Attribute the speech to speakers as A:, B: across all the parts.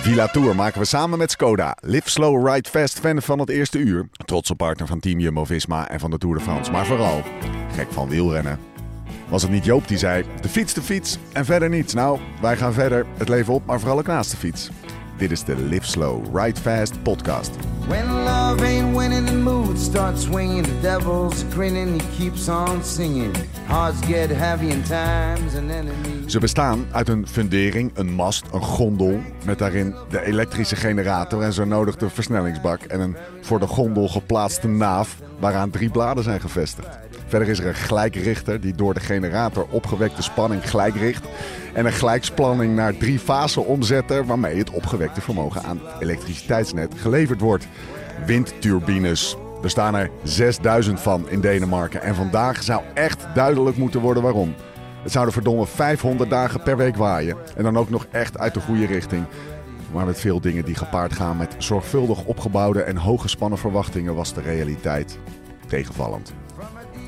A: Villa Tour maken we samen met Skoda. Live slow, ride fast, fan van het eerste uur. Trotse partner van Team Jumbo-Visma en van de Tour de France. Maar vooral, gek van wielrennen. Was het niet Joop die zei, de fiets, de fiets en verder niets. Nou, wij gaan verder, het leven op, maar vooral ook naast de fiets. Dit is de Live Slow, Ride Fast podcast.
B: When love ain't winning, the mood starts swinging. The devil's grinning, he keeps on singing. Hearts get heavy in times and enemies.
A: Ze bestaan uit een fundering, een mast, een gondel met daarin de elektrische generator en zo nodig de versnellingsbak en een voor de gondel geplaatste naaf waaraan drie bladen zijn gevestigd. Verder is er een gelijkrichter die door de generator opgewekte spanning gelijkricht en een gelijkspanning naar drie fasen omzetter waarmee het opgewekte vermogen aan het elektriciteitsnet geleverd wordt. Windturbines. Er staan er 6000 van in Denemarken en vandaag zou echt duidelijk moeten worden waarom. Het zouden verdomme 500 dagen per week waaien. En dan ook nog echt uit de goede richting. Maar met veel dingen die gepaard gaan met zorgvuldig opgebouwde en hooggespannen verwachtingen was de realiteit tegenvallend.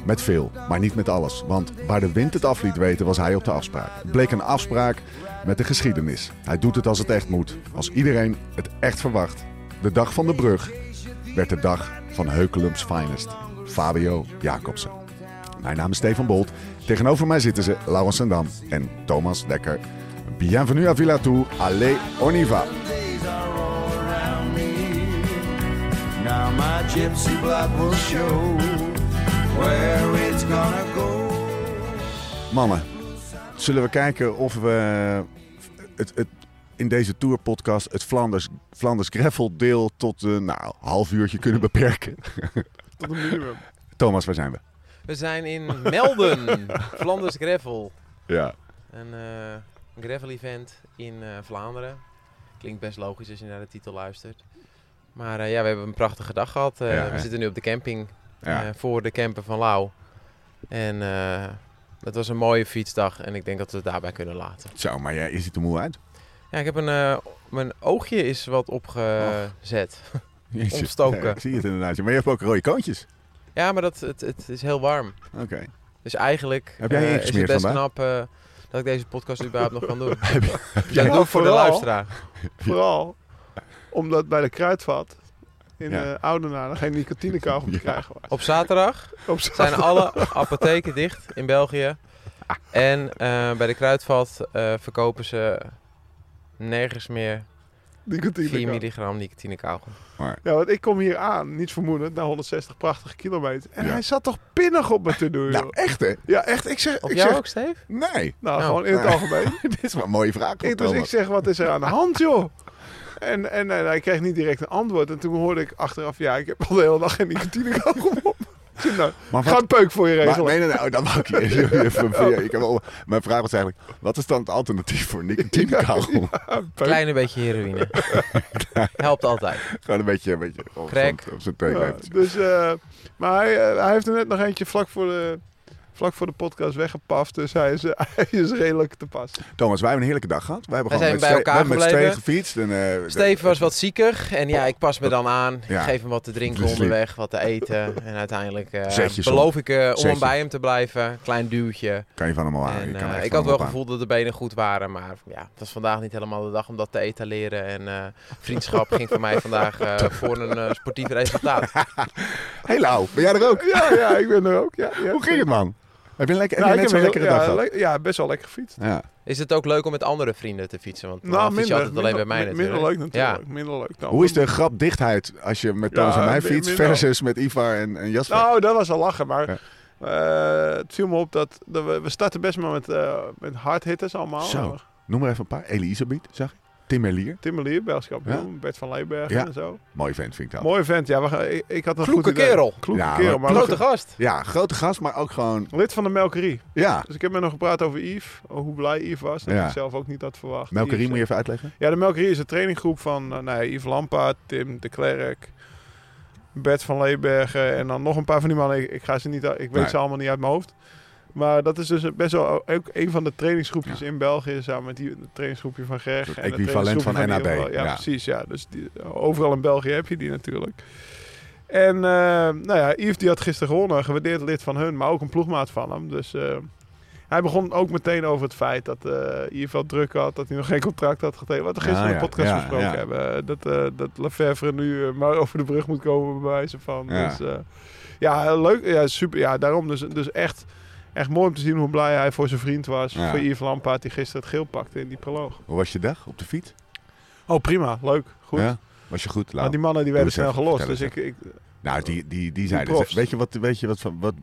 A: Met veel, maar niet met alles. Want waar de wind het af liet weten, was hij op de afspraak. Het bleek een afspraak met de geschiedenis. Hij doet het als het echt moet. Als iedereen het echt verwacht. De dag van de brug werd de dag van Heukelums finest. Fabio Jacobsen. Mijn naam is Stefan Bolt. Tegenover mij zitten ze Laurens Sendam en Thomas Dekker. Bienvenue à Villa Tour. Allez, on y va.
B: Days are all around me. Now my gypsy blood will show where it's gonna go.
A: Mannen, zullen we kijken of we het, het, in deze tourpodcast het Flanders, Flanders Greffel deel tot een nou, half uurtje kunnen beperken?
C: Tot een minimum.
A: Thomas, waar zijn we?
C: We zijn in Melden, Flanders Gravel.
A: Ja.
C: Een eh gravel-event in eh, Vlaanderen. Klinkt best logisch als je naar de titel luistert. Maar eh, ja, we hebben een prachtige dag gehad. Eh,
A: Ja,
C: we
A: hè?
C: zitten nu op de camping
A: ja.
C: eh, voor de camper van Lau. En eh, dat was een mooie fietsdag en ik denk dat we het daarbij kunnen laten.
A: Zo, maar jij je ziet er moe uit.
C: Ja, ik heb een, eh, mijn oogje is wat opgezet.
A: Jeetje.
C: Ontstoken.
A: Ja, ik zie het inderdaad. Maar je hebt ook rode koontjes.
C: Ja, maar dat, het, het is heel warm.
A: Oké.
C: Dus eigenlijk
A: Heb jij
C: eh, is het
A: ingesmeerd
C: best
A: vandaag?
C: knap eh, dat ik deze podcast überhaupt nog kan doen.
D: jij
C: Ja, doe
D: nou
C: ik voor de
D: vooral?
C: luisteraar.
D: Vooral omdat bij de kruidvat in
A: Ja.
D: eh Oudenaar dan geen nicotinekauwgom te krijgen was.
C: Op zaterdag
D: Op
C: zijn alle apotheken dicht in België.
A: Ah.
C: En eh, bij de Kruidvat eh, verkopen ze nergens meer 4
D: nicotinekauwgom.
C: milligram nicotine kauwgom.
D: Ja, want ik kom hier aan, niet vermoedend, na 160 prachtige kilometer. En
A: Ja.
D: hij zat toch pinnig op me te doen,
A: Nou,
D: joh.
A: echt hè?
D: Ja, echt. Ik zeg,
C: Op
D: ik
C: jou
D: zeg
C: ook, Steve?
A: Nee.
D: nou,
C: Nou,
D: gewoon in het
A: nou.
D: algemeen.
A: Dit is wel een mooie vraag.
D: Ik, dus ik
A: Thomas.
D: zeg, wat is er aan de hand, joh? En, en, en hij kreeg niet direct een antwoord. En toen hoorde ik achteraf, ja, ik heb al de hele dag geen nicotinekauwgom op. Ik zeg, nou,
A: Maar
D: ga
A: wat,
D: een peuk voor je
A: Maar,
D: regelen.
A: nee, nee, nee, oh, dat wou ik je even- even- even- ik heb al, Mijn vraag was eigenlijk, wat is dan het alternatief voor nicotinekauwgom?
D: Een peuk.
C: Kleine beetje heroïne. Helpt altijd.
A: Gewoon een beetje, een beetje op
C: Crack.
A: zo'n- op zijn twee
D: Ja,
A: lepels.
D: dus, eh, maar hij, eh, hij heeft er net nog eentje vlak voor de, vlak voor de podcast weggepaft. Dus hij is, eh, hij is redelijk te pas.
A: Thomas, wij hebben een heerlijke dag gehad. Wij hebben
C: Wij
A: gewoon
C: zijn bij
A: met, twee-
C: elkaar
A: we hebben met
C: gebleven.
A: twee gefietst. En, eh, de-
C: Steve was wat zieker en ja, ik pas me dan aan. Ik
A: Ja.
C: geef hem wat te drinken
A: Dus lief.
C: onderweg, wat te eten. En uiteindelijk eh,
A: Zetjes om.
C: beloof ik eh, om
A: Zetjes.
C: hem bij hem te blijven. Klein duwtje.
A: Kan je van hem al aan.
C: En,
A: je kan
C: eh,
A: echt van
C: ik had
A: hem
C: wel
A: op
C: het
A: aan.
C: gevoel dat de benen goed waren, maar ja, het was vandaag niet helemaal de dag om dat te etaleren. En eh, vriendschap ging voor mij vandaag eh, voor een eh, sportief resultaat.
A: Hey Lau, ben jij er ook?
D: Ja, ja, ik ben er ook. Ja, ja.
A: Hoe ging het man? Heb je, een lekker, heb
D: Nou,
A: je net
D: ik
A: zo'n
D: heb
A: lekkere
D: heel-
A: dag
D: ja,
A: gehad?
D: le- ja, best wel lekker gefietst.
A: Ja.
C: Is het ook leuk om met andere vrienden te fietsen? Want
D: Nou,
C: normaal
D: minder,
C: fiets je altijd alleen
D: minder,
C: bij mij
D: mi- minder
C: natuurlijk.
D: leuk natuurlijk. Minder leuk Nou, dan.
A: Hoe is de grapdichtheid als je met Thomas
D: Ja,
A: en mij
D: min-
A: fietst
D: min
A: versus met Ivar en, en Jasper?
D: Nou, dat was al lachen, maar...
A: Ja.
D: eh, het viel me op dat, dat we, we starten best maar met, eh met hardhitters allemaal.
A: Zo. Noem maar even een paar. Elisabeth, zag ik. Tim Elier.
D: Timmerlier, Belgisch kampioen, Bert van Leijbergen
A: Ja.
D: en zo.
A: Mooi vent vind ik dat.
D: Mooi vent, ja. We gaan, ik, ik had een
C: Kloeke
D: goed idee.
C: kerel.
D: Kloeke
A: Ja,
D: kerel,
A: maar-
D: maar
C: Grote gast.
A: Ja, grote gast, maar ook gewoon...
D: lid van de Melkerie.
A: Ja,
D: Dus ik heb met hem gepraat over Yves, oh, hoe blij Yves was. Dat
A: Ja.
D: ik zelf ook niet had verwacht.
A: Melkerie
D: Yves- eh,
A: moet je even uitleggen.
D: Ja, de Melkerie is een traininggroep van eh, nou ja, Yves Lampaard, Tim de Klerk, Bert van Leebergen en dan nog een paar van die mannen. Ik, ik, ga ze niet, uit- ik weet
A: Nee.
D: ze allemaal niet uit mijn hoofd. Maar dat is dus best wel ook een van de trainingsgroepjes
A: Ja.
D: in België, samen met die het trainingsgroepje van Gerg.
A: Het
D: en het
A: equivalent van
D: trainingsgroepje
A: NAB,
D: Ivo. Ja,
A: ja.
D: precies. Ja. Dus die, overal in België heb je die natuurlijk. En eh, nou ja, Yves die had gisteren gewonnen, gewaardeerd lid van hun, maar ook een ploegmaat van hem. Dus eh, Hij begon ook meteen over het feit dat eh IFL druk had, dat hij nog geen contract had getekend. Wat we gisteren
A: Ah,
D: in
A: ja,
D: de podcast
A: ja,
D: besproken
A: ja.
D: hebben. eh, Dat, eh dat Lefevre nu eh, maar over de brug moet komen, bij wijze van.
A: Ja.
D: Dus, eh, ja, leuk. Ja, super. Ja, daarom dus, dus echt, echt mooi om te zien hoe blij hij voor zijn vriend was.
A: Ja.
D: Voor Yves Lampaard, die gisteren het geel pakte in die proloog.
A: Hoe was je dag op de fiets?
D: Oh, prima. Leuk. Goed. Nou,
A: Ja? Was je goed? Lau?
D: Maar die mannen die werden
A: Doe
D: snel
A: eens even,
D: gelost. Dus
A: vertel
D: ik, ik,
A: Nou, die, die, die zeiden...
D: profs.
A: weet je wat... Weet je wat, van, wat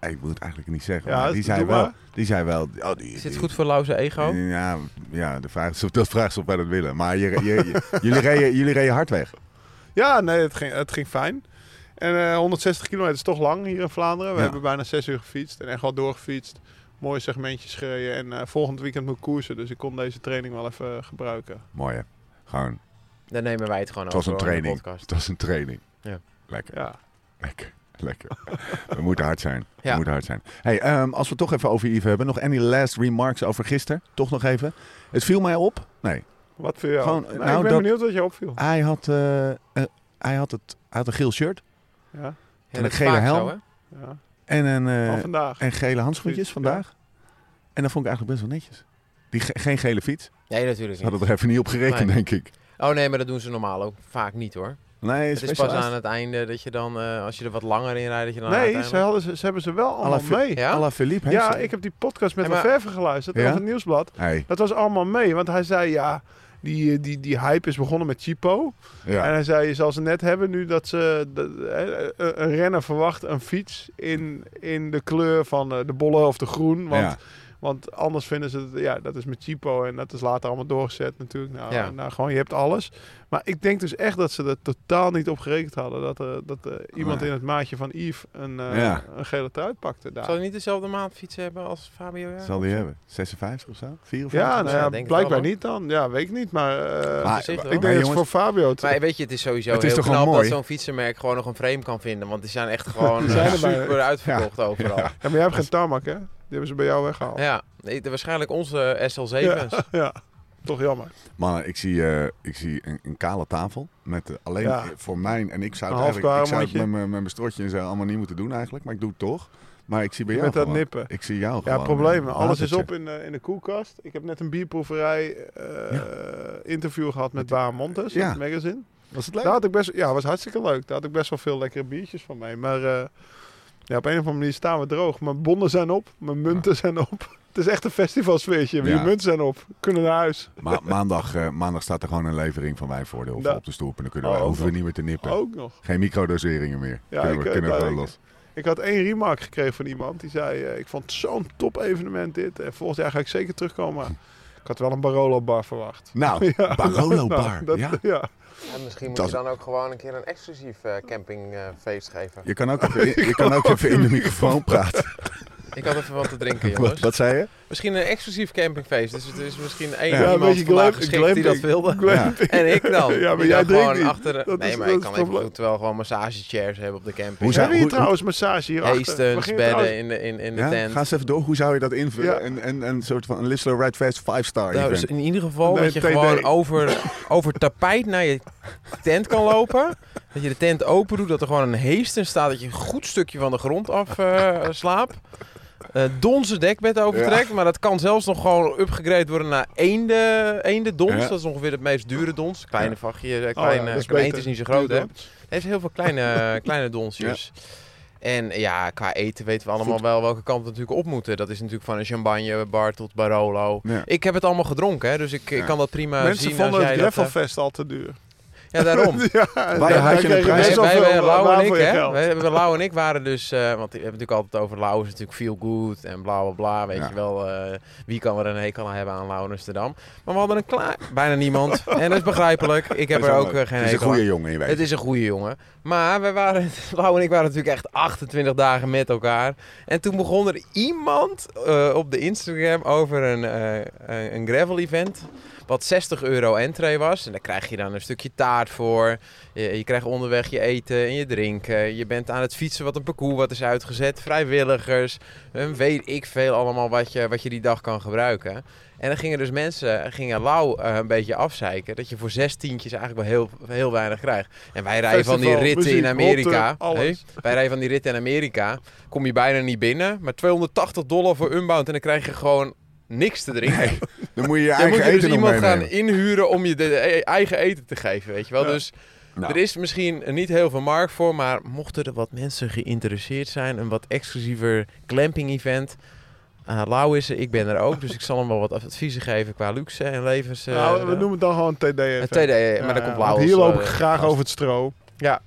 A: ik moet het eigenlijk niet zeggen.
D: Ja,
A: maar die
D: doe
A: zei
D: maar.
A: wel... Die zei wel... Oh, die,
C: Is dit
A: die-
C: goed voor Lauze ego?
A: Ja, ja de vraag is of, dat vraag is of wij dat willen. Maar je, je, je- jullie, reden, jullie reden hard weg.
D: Ja, nee, het ging, het ging fijn. En eh, 160 kilometer is toch lang hier in Vlaanderen. We
A: Ja.
D: hebben bijna 6 uur gefietst en echt wel doorgefietst. Mooie segmentjes gereden. En eh, volgend weekend moet ik koersen, dus ik kon deze training wel even eh, gebruiken.
A: Mooi hè? Gewoon,
C: Dan nemen wij het gewoon
A: het
C: over
A: was een
C: hoor, in de
A: training.
C: podcast.
A: Het was een training.
C: Ja.
A: Lekker,
D: Ja.
A: lekker, lekker. We moeten hard zijn.
C: Ja.
A: We moeten hard zijn. Hey, ehm, als we het toch even over Yves hebben. Nog any last remarks over gisteren? Toch nog even. Het viel mij op. Nee.
D: Wat voor jou?
A: Gewoon,
D: nou,
A: nou,
D: ik ben
A: dat-
D: benieuwd wat je opviel.
A: Hij had, eh, eh, hij had, het, hij had een geel shirt
D: Ja,
C: Ja,
A: een
C: dat is
A: gele
C: vaak
A: helm.
C: zo, hè?
D: ja.
A: en, een,
D: Al
A: eh,
D: vandaag.
A: en gele handschoentjes
D: Ja.
A: vandaag. En dat vond ik eigenlijk best wel netjes. Die ge- geen gele fiets.
C: Nee, natuurlijk
A: Ze
C: niet.
A: hadden er even niet op gerekend,
C: Nee.
A: denk ik.
C: Oh nee, maar dat doen ze normaal ook vaak niet hoor.
A: Nee,
C: Het is pas aan het einde dat je dan, eh, als je er wat langer in rijdt, dat je dan
D: Nee, ze,
C: Nou, uiteindelijk-
D: hadden ze, ze hebben ze wel allemaal
A: Alle-
D: mee. Ja,
C: Ja?
A: Philippe
D: ik heb die podcast met
C: Ja,
D: de
C: maar-
D: Verve geluisterd
A: Ja?
D: over het nieuwsblad.
A: Hey,
D: Dat was allemaal mee, want hij zei ja, die, eh, die, die hype is begonnen met Chipo. En
A: ja.
D: hij zei, je zal ze net hebben nu dat ze... dat- eh, eh, een renner verwacht een fiets in, in de kleur van eh, de bolle of de groen. Want,
A: ja.
D: want anders vinden ze... Het, ja, dat is met Chipo en dat is later allemaal doorgezet natuurlijk. Nou,
C: Ja.
D: nou, gewoon, je hebt alles. Maar ik denk dus echt dat ze er totaal niet op gerekend hadden. Dat, er, dat eh, iemand
A: Nee.
D: in het maatje van Yves een, eh,
A: Ja.
D: een gele trui pakte daar.
C: Zal hij niet dezelfde maand fietsen hebben als Fabio? Jaren?
A: Zal die hebben? 56 of zo? 54?
D: Ja,
C: Ja,
D: nou ja,
C: denk het
D: blijkbaar
C: wel, hoor.
D: niet dan. Ja, weet ik niet. Maar, eh,
A: Maar-
C: Op zich wel.
D: ik
A: maar
D: denk dat het
A: jongens-
D: voor Fabio... het-
C: Maar weet je, het is sowieso
A: Het is
C: heel
A: toch wel
C: knap dat
A: mooi?
C: zo'n fietsenmerk gewoon nog een frame kan vinden. Want die zijn echt gewoon
D: Die zijn
C: eh,
D: er maar-
C: super uitverkocht overal. Ja,
D: Ja, maar jij hebt geen tarmac, hè? Die hebben ze bij jou weggehaald.
C: Nee, de- waarschijnlijk onze SL7's.
D: Ja, ja. toch jammer.
A: Mannen, ik zie, eh, ik zie een, een kale tafel. Met eh, alleen
D: Ja.
A: eh, voor mijn... En ik zou
D: Een
A: het eigenlijk ik zou het
D: halfkarremannetje.
A: met mijn- met mijn strotje en zo allemaal niet moeten doen eigenlijk. Maar ik doe het toch. Maar ik zie bij jou
D: Met dat
A: gewoon-
D: nippen.
A: Ik zie jou
D: Ja,
A: gewoon.
D: problemen.
A: eh,
D: Alles is op
A: watertje.
D: in de, in de koelkast. Ik heb net een bierproeverij eh, interview gehad met Baan Montes,
A: Ja.
D: het magazine.
A: Was het
D: Daar
A: leuk?
D: had ik best, ja, was hartstikke leuk. Daar had ik best wel veel lekkere biertjes van mee. Maar eh, ja, op een of andere manier staan we droog. Mijn bonnen zijn op, mijn munten zijn op. Het is echt een festivalsfeertje. Mijn
A: Ja.
D: munten zijn op, kunnen naar huis.
A: Maar maandag, eh, maandag staat er gewoon een levering van wijnvoordeel
D: Da-
A: op de stoep. En dan kunnen
D: Oh,
A: wij,
D: ook
A: hoeven we
D: nog.
A: niet meer te nippen.
D: Ook nog.
A: Geen microdoseringen meer.
D: Ja,
A: kunnen
D: ik,
A: we,
D: eh,
A: kunnen we
D: daar-
A: gewoon los.
D: Ik had één remark gekregen van iemand. Die zei, eh, ik vond het zo'n top evenement dit. En volgend jaar ga ik zeker terugkomen. Ik had wel een Barolo bar verwacht.
A: Nou, Barolo
D: Nou,
A: Bar.
D: dat-
A: ja.
D: ja.
C: En misschien moet
A: Dat-
C: je dan ook gewoon een keer een exclusief eh, campingfeest geven.
A: Je kan ook even, in- je kan ook even in de microfoon praten.
C: Ik had even wat te drinken,
A: Wat,
C: jongens.
A: wat zei je?
C: Misschien een exclusief campingfeest. Dus er is misschien één
A: Ja,
D: een
C: iemand
D: beetje
C: vandaag
D: glam-
C: geschikt die dat
D: glamping.
C: wilde.
D: Glamping.
C: En ik dan.
D: Ja, maar
C: Die
D: jij
C: dan
D: drinkt
C: gewoon
D: niet.
C: achter.
D: Dat
C: nee,
D: is-
C: maar
D: dat
C: ik
D: is
C: kan
D: toch
C: even
D: wel-
C: goed wel gewoon massagechairs hebben op de camping.
A: Hoe
D: We
A: zou-
D: hebben hier
A: hoe-
D: trouwens massage hier
C: Heestens, bedden in de, in, in de
A: Ja,
C: tent.
A: ga eens even door. Hoe zou je dat invullen?
D: Ja.
A: En, en, en een soort van een Lislo Red Fest 5-star
C: Nou,
A: event.
C: dus in ieder geval
D: Nee,
C: dat je
D: TD.
C: gewoon over, over tapijt naar je tent kan lopen. Dat je de tent open doet, dat er gewoon een heester staat. Dat je een goed stukje van de grond af eh, slaapt. Eh donzen dekbed overtrekt. Maar dat kan zelfs nog gewoon upgegrade worden naar eende, eende dons.
A: Ja.
C: Dat is ongeveer het meest dure dons. Kleine
A: Ja.
C: vachtje. eh,
D: Oh, ja,
C: Kleine,
D: dat is
C: een eend
D: beter.
C: is niet zo groot hè. Het heeft heel veel kleine, kleine donsjes. En ja, qua eten weten we allemaal wel welke kant we natuurlijk op moeten. Dat is natuurlijk van een champagne bar tot Barolo.
A: Ja.
C: Ik heb het allemaal gedronken, hè, dus ik, ik
A: Ja.
C: kan dat prima
D: Mensen
C: zien
D: vonden
C: als
D: het
C: jij dat... eh,
D: Greffelfest al te duur.
C: ja, daarom. Wij,
D: ja,
A: had je een prijs? best
C: wij,
A: wel
C: wij- Lau en ik, hè,
D: Wij,
C: wij, wij- Lau en ik waren dus... eh, want we hebben natuurlijk altijd over Lau is natuurlijk feel good en bla bla bla. Weet
A: Ja.
C: je wel, eh, wie kan er een hekel aan hebben aan Lau in Amsterdam? Maar we hadden een klaar... Bijna niemand. en dat is begrijpelijk. Ik heb
A: Dat is
C: er
A: wel
C: ook
A: leuk.
C: eh, geen
A: Het is een
C: hekel
A: goede
C: aan.
A: jongen, je weet.
C: Het is een goede jongen. Maar we waren, Lau en ik waren natuurlijk echt 28 dagen met elkaar. En toen begon er iemand eh, op de Instagram over een, eh, een- een gravel event. Wat 60 euro entree was. En daar krijg je dan een stukje taart voor. Eh, Je, je krijgt onderweg je eten en je drinken. Je bent aan het fietsen wat een parcours wat is uitgezet. Vrijwilligers. En weet ik veel allemaal wat je, wat je die dag kan gebruiken. En dan gingen dus mensen, gingen lauw eh, een beetje afzeiken. Dat je voor zes tientjes eigenlijk wel heel, heel weinig krijgt. En wij rijden van die
D: Festival,
C: ritten in
D: muziek,
C: Amerika.
D: hot tub, alles.
C: Hé? Wij rijden van die ritten in Amerika. Kom je bijna niet binnen. Maar 280 dollar voor Unbound. En dan krijg je gewoon niks te drinken.
A: Dan moet je je
C: Dan moet
A: eigen
C: je dus
A: eten nog
C: iemand gaan
A: meenemen.
C: inhuren om je de, de e- eigen eten te geven, weet je wel.
D: Ja.
C: Dus
A: Nou.
C: er is misschien niet heel veel markt voor, maar mochten er wat mensen geïnteresseerd zijn, een wat exclusiever glamping event. eh Lau is er, ik ben er ook, dus ik zal hem wel wat adviezen geven qua luxe en levens. eh,
D: Nou, we
C: eh,
D: noemen het dan gewoon TD.
C: eh,
D: Een
C: TD, maar daar komt Lau als,
D: Hier loop
C: eh,
D: ik graag
C: gast.
D: over het stro.
C: Ja,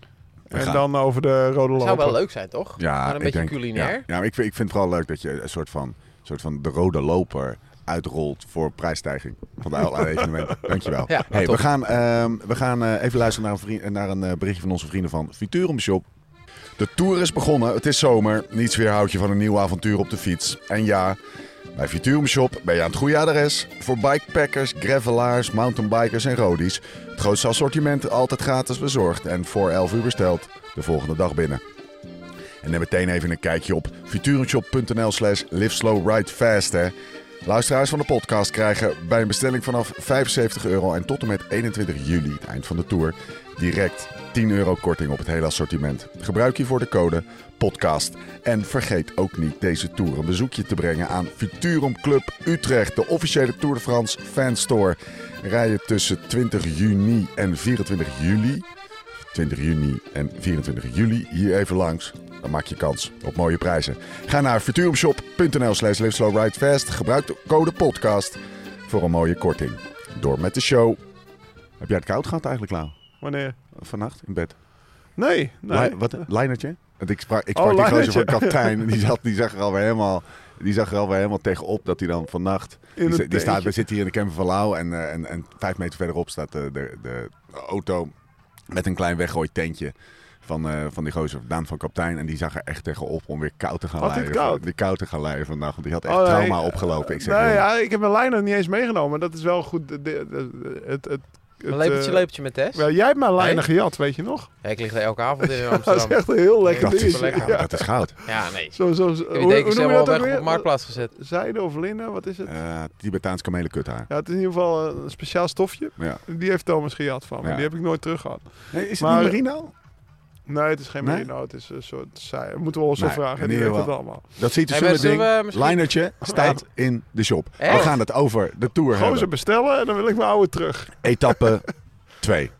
D: En
A: gaan.
D: dan over de rode
C: zou wel
D: loper.
C: leuk zijn, toch?
A: Ja,
C: Maar een
A: ik
C: beetje
A: denk-
C: culinair.
A: Ja, ja maar ik, vind- ik vind het vooral leuk dat je een soort van, soort van de rode loper uitrolt voor prijsstijging van de allerlei evenementen. Dankjewel.
C: Ja,
A: hey,
C: top.
A: we gaan, ehm, we gaan eh, even luisteren naar een, vriend, naar een eh, berichtje van onze vrienden van Viturum Shop. De tour is begonnen, het is zomer. Niets weerhoudt je van een nieuw avontuur op de fiets. En ja, bij Viturum Shop ben je aan het goede adres. Voor bikepackers, gravelaars, mountainbikers en roadies. Het grootste assortiment altijd gratis bezorgd en voor 11 uur besteld. De volgende dag binnen. En neem meteen even een kijkje op futurenshop.nl slash liveslowridefast. hè. Luisteraars van de podcast krijgen bij een bestelling vanaf 75 euro en tot en met 21 juli, het eind van de tour, direct 10 euro korting op het hele assortiment. Gebruik hiervoor de code podcast. En vergeet ook niet deze tour een bezoekje te brengen aan Futurum Club Utrecht, de officiële Tour de France fanstore. Rijden tussen 20 juni en 24 juli 20 juni en 24 juli hier even langs. Dan maak je kans op mooie prijzen. Ga naar futurumshop.nl slash liveslowridefast. Gebruik de code podcast voor een mooie korting. Door met de show. Heb jij het koud gehad eigenlijk, Lau?
D: Wanneer?
A: Vannacht in bed?
D: Nee, nee.
A: Lei- wat, Leinertje? Want ik sprak, ik
D: Oh,
A: sprak die gozer van
D: Leinertje.
A: kapitein en die, zat, die zag er alweer helemaal... Die zag er alweer helemaal tegenop dat hij dan vannacht...
D: In
A: Die,
D: een
A: sta- die staat,
D: tentje.
A: we zitten hier in de camper van Lau en, eh, en, en vijf meter verderop staat de, de, de auto met een klein weggooi tentje van, eh, van die gozer, Daan van Kaptein. En die zag er echt tegenop om weer koud te gaan
D: Had hij
A: leiden.
D: het koud?
A: van- Die koud te gaan leiden vandaag, want die had echt
D: Oh, nee.
A: trauma opgelopen. Ik zeg,
D: nee,
A: joh,
D: ja, ik heb mijn lijner niet eens meegenomen. Dat is wel goed. De- de- de- het, het, het,
C: Een lepeltje,
D: eh,
C: lepeltje met Tess.
D: wel, jij hebt mijn lijnen
C: Nee?
D: gejat, weet je nog?
C: Ja, ik lig er elke avond in in
D: Dat is
C: Amsterdam.
D: echt een heel lekker
C: Ja,
A: dat, is,
D: ding.
C: lekker.
A: ja, dat is goud.
C: Ja, nee. Ik
D: Zo, zo, zo-
C: heb die
D: hoe, hoe
C: dekens
D: noem je
C: helemaal
D: dat ook
C: weg op de
D: weer?
C: marktplaats gezet.
D: Zijde of linnen, wat is het?
A: Eh, Tibetaans kamelenkutthaar.
D: Ja, het is in ieder geval eh, een speciaal stofje.
A: Ja.
D: Die heeft Thomas gejat van me.
A: Ja.
D: Die heb ik nooit terug gehad.
A: Nee, is het
D: Maar-
A: niet merino?
D: Nee, het is geen
A: Nee?
D: merino. Het is een soort zij. Moeten we ons zo
A: Nee,
D: vragen.
A: in
D: Die
A: ieder
D: weet het
A: geval.
D: allemaal.
A: Dat ziet er
C: Hey,
A: zo'n
C: maar zullen
A: ding.
C: we misschien-
A: Linertje staat in de shop. We
C: Echt?
A: gaan het over de tour
D: Gozer
A: hebben.
D: bestellen en dan wil ik mijn oude terug.
A: Etappe 2.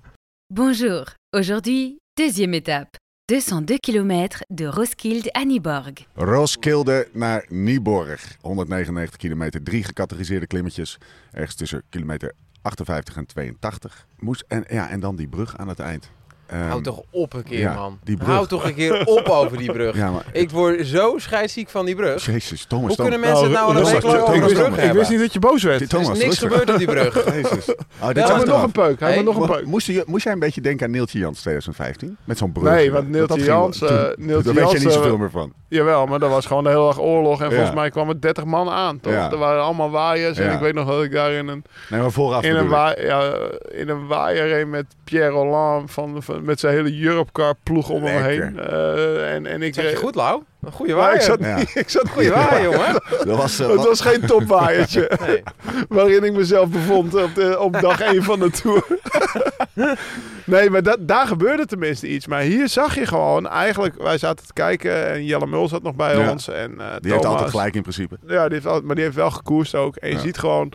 E: Bonjour, aujourd'hui, deuxième étape, 202 km de Roskilde à Niborg.
A: Roskilde naar Nieborg. 199 kilometer, drie gecategoriseerde klimmetjes. Ergens tussen kilometer 58 en 82. Moest, en, ja, en dan die brug aan het eind. Ehm,
C: Houd toch op een keer,
A: ja,
C: man.
A: die brug.
C: Houd toch een keer op over die brug.
A: Ja, maar...
C: Ik word zo scheidsziek van die brug.
A: Jezus, Thomas.
C: Hoe kunnen
A: Thomas.
C: mensen het nou al een
A: Thomas,
C: week lang
A: Thomas,
C: over een
A: Thomas,
C: brug
A: ik
C: hebben?
A: wist niet
D: dat je boos werd.
A: Dit-
C: Er is
A: Thomas,
C: niks
A: rustig.
C: gebeurd op die brug.
A: Jezus. Oh, dit
C: Ja,
A: is
D: Hij
C: maar
D: moet
A: achteraf.
D: nog een peuk. Hij
C: Hey,
D: moet nog een
A: Mo-
D: peuk.
A: Moest, je, moest jij een beetje denken aan Neeltje Jans 2015? Met zo'n brug.
D: Nee, want Neeltje Jans, eh, Neeltje
A: Daar weet je
D: Jans,
A: niet
D: eh,
A: zoveel meer van.
D: Jawel, maar dat was gewoon de hele dag oorlog. En
A: Ja.
D: volgens mij kwamen 30 man aan, toch?
A: Ja.
D: Er waren allemaal waaiers. En
A: Ja.
D: ik weet nog dat ik daar in een,
A: Nee, maar vooraf
D: in een,
A: bedoel ik.
D: waai- ja, in een waaier heen met Pierre Roland. Van, van- met zijn hele Europcar ploeg om hem
A: Lekker.
D: heen. Eh, en, en ik,
C: Zeg je goed, Lau? Een goede
D: Maar
C: waar.
D: ik zat,
A: Ja.
D: niet- ik zat
C: Goeie waar, jongen.
A: Dat was, eh,
D: Het was geen topwaaiertje
C: Nee.
D: waarin ik mezelf bevond op, de- op dag 1 van de tour. nee, maar dat, daar gebeurde tenminste iets. Maar hier zag je gewoon eigenlijk, wij zaten te kijken en Jelle Mul zat nog bij
A: Ja.
D: ons. En, eh,
A: die heeft
D: Thomas.
A: altijd gelijk in principe.
D: Ja, die heeft altijd, maar die heeft wel gekoerst ook. En je
A: Ja.
D: ziet gewoon,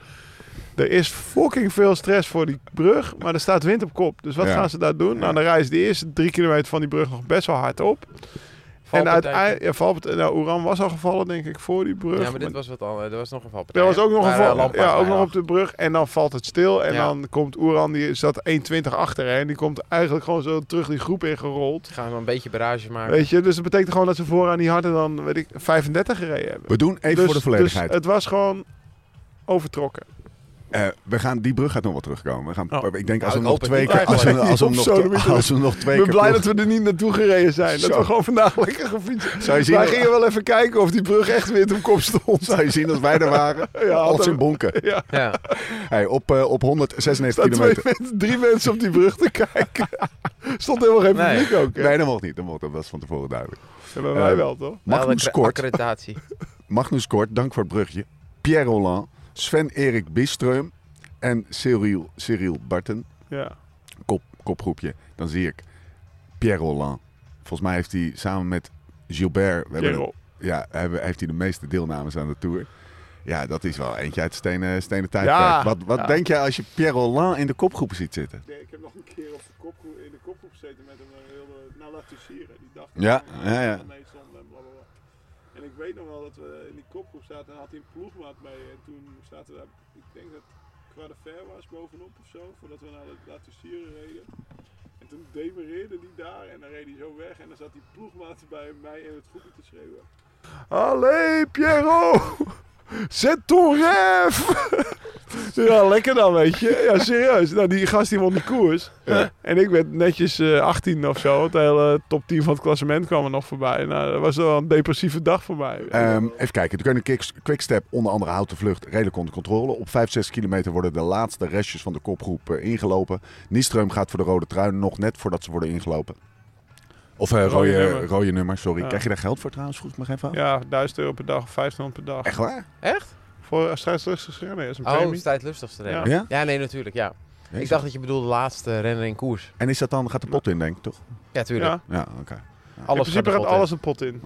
D: er is fucking veel stress voor die brug, maar er staat wind op kop. Dus wat
A: Ja.
D: gaan ze daar doen? Nou, dan rijden ze de eerste drie kilometer van die brug nog best wel hard op. En
C: Valpartijtje.
D: uiteindelijk, ja, valpart- nou, Oeran was al gevallen denk ik voor die brug.
C: Ja, maar
D: Maar-
C: dit was wat anders. Er was nog een valpartij.
D: er was ook nog een
C: Waar, eh,
D: val,
C: Lampaard
D: ja, ook
C: bij
D: nog
C: lag.
D: op de brug. En dan valt het stil. En
C: Ja.
D: dan komt Oeran, die zat 1,20 achter. Hè, en die komt eigenlijk gewoon zo terug die groep ingerold.
C: Gaan we een beetje barrage maken.
D: Weet je, dus dat betekent gewoon dat ze vooraan niet harder dan, weet ik, 35 gereden hebben.
A: We doen even
D: dus,
A: voor de volledigheid.
D: Dus het was gewoon overtrokken.
A: Eh, we gaan, die brug gaat nog wel terugkomen. We gaan,
C: Oh.
A: Ik denk als
C: Nou,
A: we
C: ik
A: nog
C: hoop het
A: twee
C: niet.
A: keer... Als we, als we,
D: Op
A: nog,
D: zo'n
A: te-
D: manier.
A: als we nog twee
D: Ik ben
A: keer...
D: blij
A: ploeg-
D: dat we er niet naartoe gereden zijn. Dat
A: Zo.
D: we gewoon vandaag lekker gefietst
A: Zou je zien
D: Wij
A: dat-
D: gingen wel even kijken of die brug echt weer ten kop stond.
A: Zou je zien dat wij er waren?
D: Ja,
A: als
D: hadden
A: in
D: we-
A: bonken.
D: Ja,
C: Ja.
A: Hey, op, eh, op 196
D: staan twee
A: kilometer.
D: mensen- drie mensen op die brug te kijken. Stond helemaal geen
C: Nee.
D: publiek ook. Hè?
A: Nee, dat mocht niet. Dat, mocht, dat was van tevoren duidelijk.
D: Ja, bij mij
A: Eh,
D: wel, toch?
A: Magnus Kort,
C: Accreditatie.
A: Magnus Kort, dank voor het brugje. Pierre Roland, Sven-Erik Bistreum en Cyril, Cyril Barten.
D: Ja.
A: Kop, kopgroepje. Dan zie ik Pierre Roland. Volgens mij heeft hij samen met Gilbert... We hebben
D: Kerel.
A: een- ja, hebben, heeft hij de meeste deelnames aan de Tour. Ja, dat is wel eentje uit stenen, stenen tijdperk.
D: Ja,
A: wat wat
D: ja.
A: denk jij als je Pierre Roland in de kopgroepen ziet zitten?
D: ik heb nog een keer op de kopgroep, in de kopgroep gezeten met hem. Heel, nou, laat sieren. Die dacht eh,
A: Ja, van, ja, ja. van
D: nee, zonde en blablabla. En ik weet nog wel dat we in die kopgroep zaten en had hij een ploegmaat mee. En toen zaten we daar, ik denk dat qua de ver was bovenop of zo, voordat we naar de laten sieren reden. En toen demareerde die daar en dan reed hij zo weg en dan zat die ploegmaat bij mij in het groepje te schreeuwen. Allee Piero! Zet Torref! Ja, lekker dan, weet je. Ja, serieus. Nou, die gast die won de koers. En ik werd netjes eh 18 of zo. Het hele top 10 van het klassement kwam er nog voorbij. Nou, dat was wel een depressieve dag voor mij.
A: Ehm, even kijken. De Keuning Kicks- Quickstep onder andere houdt de vlucht redelijk onder controle. Op 5, 6 kilometer worden de laatste restjes van de kopgroep eh, ingelopen. Nistreum gaat voor de rode trui nog net voordat ze worden ingelopen. Of eh,
D: Rode
A: rode, rode, nummer.
D: nummer.
A: sorry.
D: Ja.
A: Krijg je daar geld voor trouwens? Vroeg ik maar even af.
D: ja, 1000 euro per dag of 1500 per dag.
A: Echt waar?
C: Echt?
D: Voor schrijfstrijksgeschreven is een
C: Oh, het
D: premie.
C: is tijdlustig te rennen.
D: Ja.
C: Ja.
A: Ja?
C: nee, natuurlijk, ja.
A: Jezus.
C: Ik dacht dat je bedoelde de laatste renner in koers.
A: En is dat dan, gaat de pot in denk ik toch?
C: Ja, tuurlijk.
D: Ja.
A: Ja, oké.
C: Alles
D: in principe
C: de
D: gaat
C: pot in.
D: alles een pot in.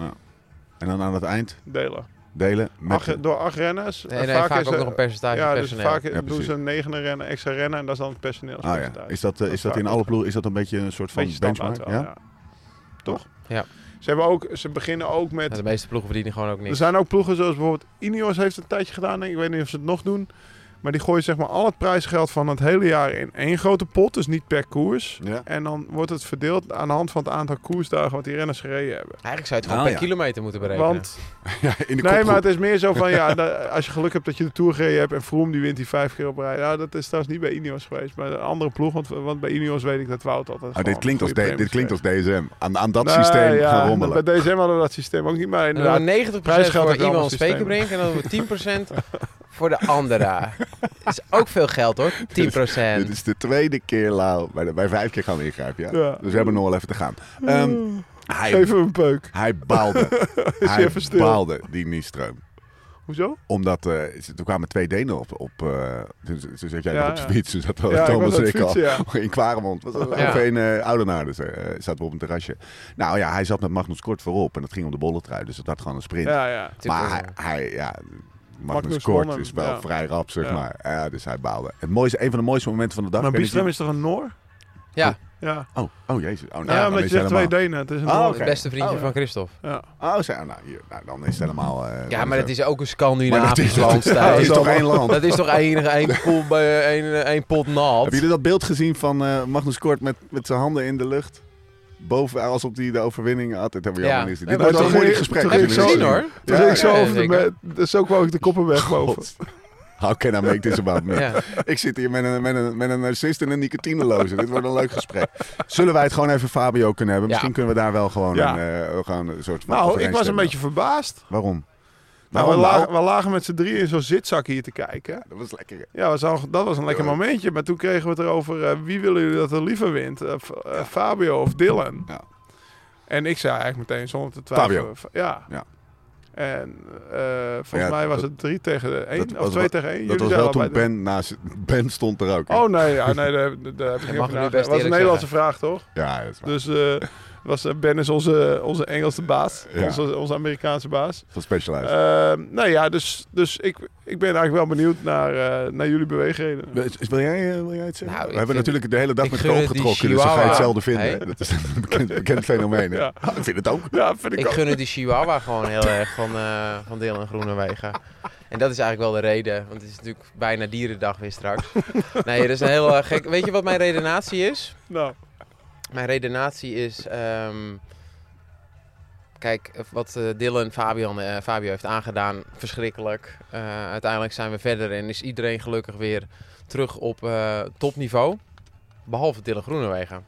A: En dan aan het eind
D: Delen.
A: delen met...
D: Acht, door acht renners.
C: Nee, nee, vaak,
D: is
C: ook
D: er-
C: nog een percentage
D: Ja, dus
C: personeel.
D: vaak
A: Ja,
D: doen
A: precies.
D: ze een negende rennen, extra rennen. En dat is dan het
A: Ah ja.
D: personeelspercentage.
A: Is dat, eh, is dat in alle ploegen, is dat een beetje een soort van
D: Beetje standaard
A: benchmark?
D: wel,
A: Ja?
D: ja. Toch?
C: Ja.
D: Ze, hebben ook, ze beginnen ook met...
C: Ja, de meeste ploegen verdienen gewoon ook
D: er
C: niks.
D: zijn ook ploegen zoals bijvoorbeeld Ineos heeft het een tijdje gedaan. denk Ik Ik weet niet of ze het nog doen. Maar die gooien zeg maar al het prijsgeld van het hele jaar in één grote pot. Dus niet per koers.
A: Ja.
D: En dan wordt het verdeeld aan de hand van het aantal koersdagen wat die renners gereden hebben.
C: Eigenlijk zou je het gewoon
A: Ah,
C: per
A: ja.
C: kilometer moeten berekenen.
D: Nou Want
A: Ja, in de
D: nee,
A: kopgroep.
D: maar het is meer zo van ja, da- als je geluk hebt dat je de Tour gereden hebt en Froome die wint die vijf keer op rij. Ja, dat is trouwens niet bij Ineos geweest, maar een andere ploeg, want, want bij Ineos weet ik dat Wout altijd.
A: Oh, dit
D: gewoon
A: klinkt, als
D: goede
A: D- dit
D: premies
A: klinkt als DSM. Aan, aan dat
D: Nee,
A: systeem
D: ja,
A: gaan rommelen.
D: Bij DSM hadden we dat systeem ook niet, maar
C: En dan
D: inderdaad.
C: doen we 90%
D: prijsgeld
C: voor
D: heb je allemaal
C: iemand spekenbrink en dan doen we 10% voor de andere. Dat is ook veel geld hoor, 10%.
A: Dit is de tweede keer, Lau. Bij, de- bij vijf keer gaan we ingrijpen, ja?
D: Ja.
A: Dus we hebben nog wel even te gaan. Ehm, hij,
D: Geef hem een peuk.
A: hij baalde. hij
D: even stil.
A: baalde, die Nieström.
D: Hoezo?
A: Omdat, eh, ze- toen kwamen twee Denen op. op eh, toen, toen zat jij
D: Ja,
A: nog op de
D: ja.
A: fiets. Toen zat
D: Ja, ik
A: Oh, Thomas
D: was aan
A: en
D: het
A: ik al
D: fietsen,
A: in Kwaremond. Was,
C: Ja.
A: Of in eh Oudenaar, dus, eh, zaten we op een terrasje. Nou ja, hij zat met Magnus Kort voorop. En dat ging om de bolletrui. Dus dat had gewoon een sprint.
D: Ja, ja.
A: Maar hij, hij- ja, Magnus,
D: Magnus
A: Kort
D: won hem,
A: is wel
D: ja.
A: vrij rap, zeg
D: Ja.
A: maar. Ja, dus hij baalde. Het mooiste, een van de mooiste momenten van de dag.
D: Maar
A: ik weet
D: Bistram
A: niet-
D: is toch een Noor?
C: Ja,
D: Ja.
A: Oh, oh jezus. Oh, nou,
D: Ja,
A: dan
D: omdat
A: is
D: je
A: het
D: zegt twee
A: helemaal...
D: Denen. Het is een
A: Ah,
D: Noor.
A: oké.
C: het beste vriendje
A: Oh, ja.
C: van Christophe.
D: Ja.
A: Oh, zo, nou, hier, nou, dan is het helemaal... eh,
C: Ja,
A: dan
C: maar
A: het-
C: dat is ook
A: Maar
C: een
A: dat
C: Scandinavisch
A: is-
C: land.
A: dat
C: Stijn.
A: is toch één land?
C: Dat is toch één, één, poel bij- één, één pot nat?
A: Hebben jullie dat beeld gezien van eh, Magnus Kort met, met zijn handen in de lucht? Boven, alsof hij de overwinning had. Dat hebben we
C: Ja.
A: allemaal niet gezien. Dit
C: Ja, maar
A: wordt wel een
D: toen-
A: moeilijk gesprek.
D: toen
C: Heb
D: ging
C: ik
D: ik zo-
C: gezien hoor.
D: Dus
A: Ja,
D: ik zo
C: ja,
D: over de
C: zeker.
D: me- dus ook wou ik de koppen weg boven.
A: God. How can I make this about me?
C: Ja.
A: Ik zit hier met een, met een, met een narcist en een nicotineloze. Dit wordt een leuk gesprek. Zullen wij het gewoon even Fabio kunnen hebben?
C: Ja.
A: Misschien kunnen we daar wel gewoon,
D: Ja.
A: een, eh, gewoon een soort van
D: Nou, ik was een
A: overeenstemming
D: beetje verbaasd.
A: Waarom?
D: Nou,
A: Waarom
D: we,
A: nou?
D: lagen, we lagen met z'n drieën in zo'n zitzak hier te kijken.
A: Dat was lekker. hè?
D: Ja, dat was, al- dat was een lekker momentje. Maar toen kregen we het erover, eh, wie willen jullie dat er liever wint? Eh, F- eh, Fabio of Dylan?
A: Ja.
D: En ik zei eigenlijk meteen zonder te twijfelen. Fabio. Ja.
A: Ja.
D: En eh, volgens
A: Ja,
D: mij was
A: dat-
D: het drie tegen één
A: dat
D: of
A: was
D: twee
A: wel-
D: tegen
A: Dat
D: één. Jullie
A: was
D: zijn
A: wel
D: allebei
A: toen
D: de-
A: Ben naast... Ben stond er ook. hè?
D: Oh nee, ja, nee daar, daar- daar heb ik
C: Hij mag
D: niet over
C: nu
D: nagedacht.
C: best
D: Dat was een
C: eerlijk
D: Nederlandse vraag, toch?
A: Ja, dat is waar.
D: Dus eh, was, eh, Ben is onze, onze Engelse baas.
A: Ja.
D: Onze, onze Amerikaanse baas.
A: Van Specialized.
D: Eh, nou ja, dus, dus ik, ik ben eigenlijk wel benieuwd naar, eh, naar jullie beweegredenen.
A: Wil- is- Wil jij, eh, wil jij het zeggen?
C: Nou,
A: we
C: ik
A: hebben
C: vind-
A: natuurlijk de hele dag
C: ik
A: met
C: gun
A: elkaar
C: het die
A: opgetrokken, dus dan ga je
C: chihuahua.
A: hetzelfde vinden.
C: Hey.
A: Dat is een bekend, bekend fenomeen. hè?
D: Ja.
A: Ah, ik vind het ook.
D: Ja, vind ik,
C: Ik
D: ook.
C: gun het die Chihuahua gewoon heel erg van, eh van Dylan Groenewegen. En dat is eigenlijk wel de reden, want het is natuurlijk bijna dierendag weer straks. Nee, dat is een heel eh, gek. Weet je wat mijn redenatie is?
D: Nou,
C: Mijn redenatie is. ehm, Kijk, eh, wat eh, Dylan Fabian, eh, Fabio heeft aangedaan, verschrikkelijk. Eh, uiteindelijk zijn we verder en is iedereen gelukkig weer terug op eh, topniveau. Behalve Dylan Groenewegen.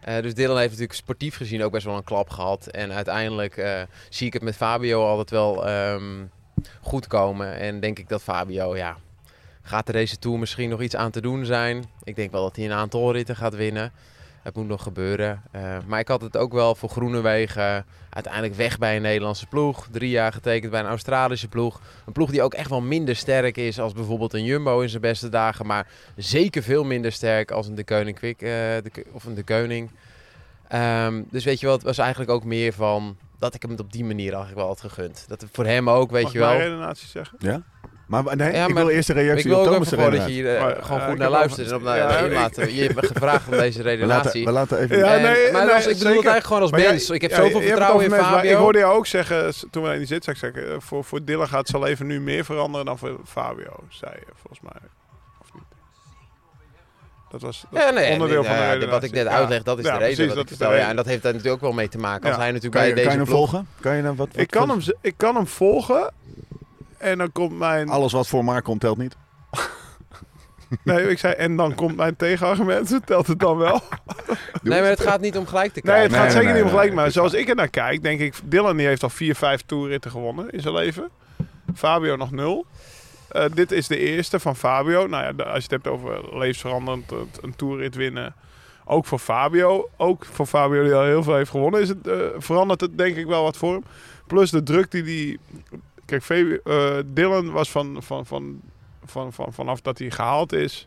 C: Eh, dus Dylan heeft natuurlijk sportief gezien ook best wel een klap gehad. En uiteindelijk eh, zie ik het met Fabio altijd wel ehm, goed komen. En denk ik dat Fabio, ja, gaat er deze Tour misschien nog iets aan te doen zijn. Ik denk wel dat hij een aantal ritten gaat winnen. Het moet nog gebeuren. Eh, maar ik had het ook wel voor Groenewegen. Uiteindelijk weg bij een Nederlandse ploeg. Drie jaar getekend bij een Australische ploeg. Een ploeg die ook echt wel minder sterk is als bijvoorbeeld een Jumbo in zijn beste dagen. Maar zeker veel minder sterk als een De Koning Quick eh, de, Ke- of een De Koning. Ehm, dus weet je wat, het was eigenlijk ook meer van dat ik hem het op die manier eigenlijk wel had gegund. Dat het voor hem ook, weet
D: Mag
C: je
D: ik mijn
C: wel.
D: redenatie zeggen?
A: Ja? Maar maar nee,
C: Ja,
A: ik
C: maar-
A: wil eerst de
C: Ik
A: reactie
C: wil
A: op
C: ook
A: Thomas'
C: even gewoon dat
A: redenatie.
C: je hier eh,
D: Maar,
C: gewoon
D: eh,
C: goed
D: ik
C: naar
D: heb
C: luistert. En op naar
D: Ja,
C: naar
D: ik-
C: inlaten. Je hebt me gevraagd om deze
A: We laten,
C: redenatie.
A: we laten even...
D: Ja,
C: En-
D: nee,
C: maar
D: nee,
C: als, ik bedoel het
D: zeker.
C: eigenlijk gewoon als
D: Maar jij-
C: mens. ik heb
D: ja,
C: zoveel
D: je hebt het
C: vertrouwen in
D: over mensen, maar
C: Fabio.
D: Ik hoorde jou ook zeggen, s- toen we in die zitzak zaten, eh, voor, voor Dylan gaat zijn leven nu meer veranderen dan voor Fabio, zei je volgens mij. Of niet? Dat was dat
C: Ja, nee,
D: onderdeel
C: nee,
D: van de
C: nou ja,
D: redenatie.
C: wat ik net
D: Ja.
C: uitleg, dat is
D: Ja,
C: de reden.
D: precies,
C: wat
D: dat
C: ik
D: is de
C: vertel. Ja,
D: reden.
C: en dat heeft daar natuurlijk ook wel mee te maken. Als
D: Ja.
C: hij natuurlijk
A: Kan je,
C: bij
A: kan je
C: deze
A: hem
C: ploeg-
A: volgen? Kan je hem wat, wat
D: Ik kan, hem, z- ik kan hem volgen en dan komt mijn...
A: Alles wat voor maar komt telt niet.
D: Nee, ik zei, en dan komt mijn tegenargument. Telt het dan wel?
C: Nee, maar het gaat niet om gelijk te
D: Nee,
C: krijgen.
D: het gaat
A: nee,
D: zeker
A: nee,
D: niet om
A: nee,
D: gelijk.
A: nee,
D: maar zoals ik er naar kijk, denk ik... Dylan die heeft al vier, vijf toeritten gewonnen in zijn leven. Fabio nog nul. Eh, dit is de eerste van Fabio. Nou ja, de- als je het hebt over levensveranderend eh, een toerrit winnen... Ook voor Fabio. Ook voor Fabio die al heel veel heeft gewonnen. Is het, eh, verandert het denk ik wel wat voor hem. Plus de druk die die Kijk, Fabio, eh, Dylan was van, van, van, van, van, vanaf dat hij gehaald is...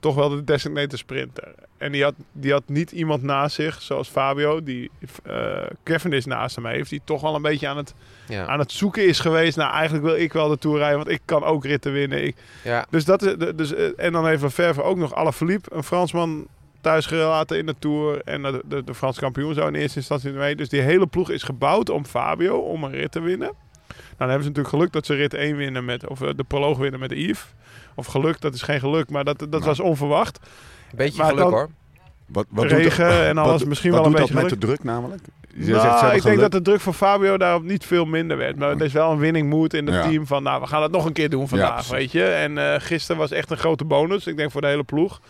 D: toch wel de designated sprinter. En die had, die had niet iemand naast zich, zoals Fabio, die eh Kevin is naast hem heeft, die toch wel een beetje aan het,
C: Ja.
D: aan het zoeken is geweest. Nou, eigenlijk wil ik wel de Tour rijden, want ik kan ook ritten winnen. Ik,
C: Ja.
D: dus dat is, de- dus, eh, en dan heeft Verver ook nog Alaphilippe, een Fransman, thuis gelaten in de Tour. En de, de, de Frans kampioen zou in eerste instantie mee. Dus die hele ploeg is gebouwd om Fabio, om een rit te winnen. Nou, dan hebben ze natuurlijk geluk dat ze rit 1 winnen met, of eh, de proloog winnen met Yves. Of geluk, dat is geen geluk, maar dat, dat was onverwacht.
C: Beetje
D: Maar
C: geluk
D: dan-
C: hoor.
A: Wat, wat doet
D: Regen
A: dat-
D: en alles,
A: wat-
D: misschien
A: wat
D: wel een
A: doet
D: beetje
A: dat met de druk namelijk? Je
D: Nou,
A: zegt, ze hebben
D: ik denk
A: geluk.
D: dat de druk van Fabio daarop niet veel minder werd. Maar er is wel een winning mood in het
A: Ja.
D: team van... nou, we gaan het nog een keer doen vandaag,
A: precies.
D: weet je. En eh, gisteren was echt een grote bonus, ik denk voor de hele ploeg.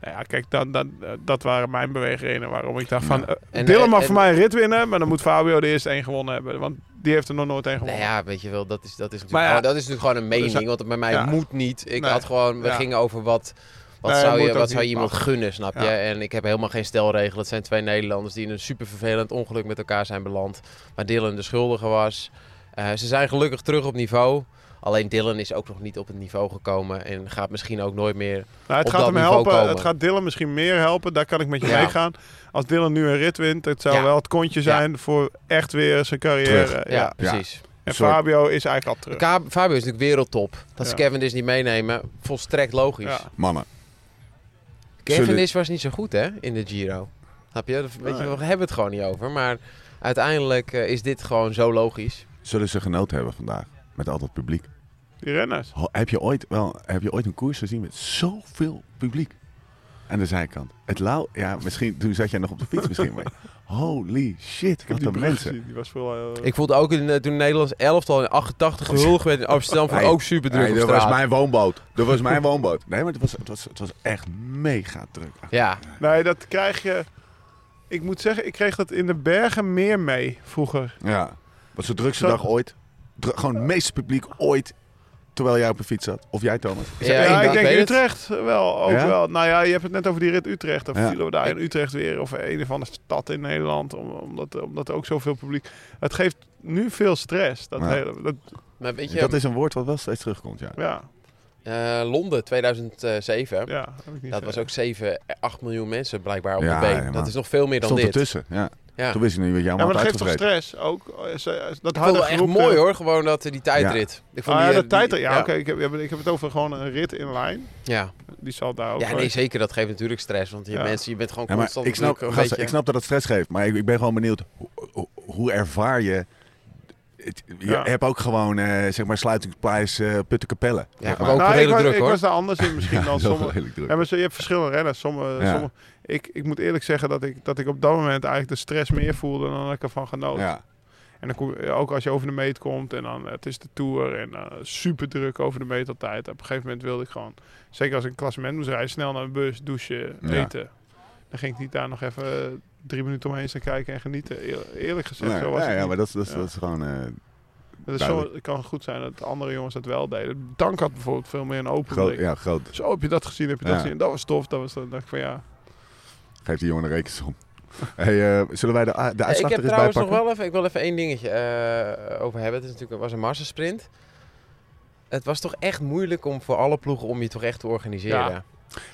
D: Nou ja, kijk, dan, dan, eh, dat waren mijn beweegredenen waarom ik dacht van... eh,
C: En-
D: Dylan
C: en-
D: mag
C: en-
D: voor mij een rit winnen, maar dan moet Fabio de eerste één gewonnen hebben. Want die heeft er nog nooit één
C: Nou
D: gewonnen.
C: ja, weet je wel, dat is, dat is, natuurlijk,
D: Maar ja,
C: gewoon, dat is natuurlijk gewoon een
D: dus
C: mening.
D: dat-
C: want het bij mij
D: ja.
C: moet niet. Ik
D: Nee.
C: had gewoon, we
D: Ja.
C: gingen over wat, wat
D: Nee,
C: zou,
D: moet
C: je,
D: ook
C: wat zou je
D: niet.
C: iemand gunnen, snap je?
D: Ja.
C: En ik heb helemaal geen stelregel. Het zijn twee Nederlanders die in een super vervelend ongeluk met elkaar zijn beland. Waar Dylan de schuldige was. Eh, ze zijn gelukkig terug op niveau. Alleen Dylan is ook nog niet op het niveau gekomen. En gaat misschien ook nooit meer.
D: Nou, het
C: op
D: gaat
C: dat
D: hem
C: niveau
D: helpen.
C: komen.
D: Het gaat Dylan misschien meer helpen. Daar kan ik met je
C: Ja.
D: meegaan. Als Dylan nu een rit wint, het zou
C: Ja.
D: wel het kontje
C: Ja.
D: zijn voor echt weer zijn carrière.
A: Terug.
C: Ja,
D: Ja.
C: precies.
D: En
A: Soort-
D: Fabio is eigenlijk al terug.
C: Ka- Fabio is natuurlijk wereldtop. Dat ze
D: Ja.
C: Kevin dus niet meenemen, volstrekt logisch.
D: Ja.
A: Mannen,
C: Kevin
A: Zullen-
C: is was niet zo goed, hè, in de Giro. Snap je? Dat, weet je
D: Nee.
C: we hebben het gewoon niet over. Maar uiteindelijk eh, is dit gewoon zo logisch.
A: zullen ze genoten hebben vandaag? Met al dat publiek.
D: Die renners.
A: Ho- Heb je ooit, wel, heb je ooit een koers gezien met zoveel publiek? Aan de zijkant. Het lauw, ja, misschien, toen zat jij nog op de fiets misschien. Maar holy shit, wat
D: Ik heb die
A: een
D: brug
A: mensen.
D: gezien. Die was veel. eh,
C: Ik voelde ook in, eh, toen Nederlands elftal in 88 gehuldigd werd in Amsterdam, vond ik
A: Hey,
C: ook super druk
A: Nee,
C: op
A: dat was
C: straat.
A: mijn woonboot. Dat was mijn woonboot. Nee, maar het was, het was, het was echt mega druk.
C: Ja,
D: Nee, dat krijg je. Ik moet zeggen, ik kreeg dat in de bergen meer mee vroeger.
A: Ja. Was de drukste
D: Zo-
A: dag ooit. Dru- gewoon het meeste publiek ooit. Terwijl jij op een fiets zat. Of jij, Thomas.
C: ja,
D: Ja,
C: inderdaad,
D: ik denk
C: weet het.
D: Utrecht wel. Ook
A: Ja?
D: wel. Nou ja, je hebt het net over die rit Utrecht. Dan
A: Ja.
D: vielen we daar in Utrecht weer. Of een of andere stad in Nederland. om- Omdat, omdat ook zoveel publiek. Het geeft nu veel stress. Dat
A: Ja.
D: hele, dat,
C: Maar weet je,
A: Dat is een woord wat wel steeds terugkomt, ja.
D: ja,
C: eh, Londen 2007,
D: ja, heb ik niet
C: dat was ook 7, 8 miljoen mensen blijkbaar op
A: Ja,
C: de been.
A: helemaal.
C: Dat is nog veel meer dan
A: Stond
C: dit.
A: ertussen. Ja.
C: Ja.
A: Toen wist ik niet wat jij
D: Ja,
A: allemaal
D: maar dat
A: had
D: geeft toch
A: uitgevreten.
D: stress ook. Eh, ze- Dat
C: Ik vond
D: harde
C: het echt
D: geroep,
C: mooi
D: eh,
C: hoor, gewoon dat, eh, die tijdrit. Ik vond
D: ah, ja,
C: die, eh,
D: dat tijd. Ja,
C: die-
D: oké. ik, heb, ik heb het over gewoon een rit in lijn.
C: Ja.
D: Die zal daar ook.
C: ja, nee zeker, dat geeft natuurlijk stress. Want je,
D: Oh, Ja.
C: mensen, je bent gewoon
A: Ja, maar
C: constant
A: ik snap,
C: natuurlijk een
A: gasten,
C: beetje...
A: ik snap dat het stress geeft. Maar ik, ik ben gewoon benieuwd. Hoe, hoe- hoe ervaar je het- je
D: Ja.
A: hebt ook gewoon, eh, zeg maar, sluitingsprijs eh Puttenkapelle.
C: Ja,
A: zeg
C: maar
A: maar.
C: ook
D: Nou, ik,
C: redelijk
D: was,
C: druk
D: ik
C: hoor.
D: was daar anders in misschien
A: Ja,
D: dan
A: is wel
D: sommige.
A: redelijk druk.
D: Ja, maar zo- je hebt verschillende renners. Sommige,
A: Ja.
D: sommige, ik, ik moet eerlijk zeggen dat ik, dat ik op dat moment eigenlijk de stress meer voelde dan dat ik ervan genoot.
A: Ja.
D: En dan kom- ook als je over de meet komt en dan eh, het is de Tour en eh, super druk over de meet altijd. Op een gegeven moment wilde ik gewoon, zeker als ik een klassement moest rijden, snel naar de bus, douchen,
A: Ja.
D: eten. Dan ging ik niet daar nog even eh, drie minuten omheen staan kijken en genieten. Eer- eerlijk gezegd,
A: Nee,
D: zo was
A: ja,
D: het
A: ja,
D: niet.
A: maar dat, is- dat, is-
D: Ja.
A: dat is gewoon... eh,
D: Het, is zo,
A: duidelijk.
D: het kan goed zijn dat andere jongens dat wel deden. Dank had bijvoorbeeld veel meer een open
A: groot,
D: blik.
A: ja, groot.
D: Zo, heb je dat gezien, heb je dat
A: Ja.
D: gezien. Dat was tof, dat was dat. dacht ik van ja.
A: Geef die jongen een rekensom. Hey, eh, zullen wij de, a- de
C: ik
A: uitslag
C: heb
A: er eens bij
C: trouwens
A: pakken?
C: nog wel even, ik wil even één dingetje eh, over hebben. Het is natuurlijk, het was een massasprint. Het was toch echt moeilijk om voor alle ploegen om je toch echt te organiseren.
D: Ja.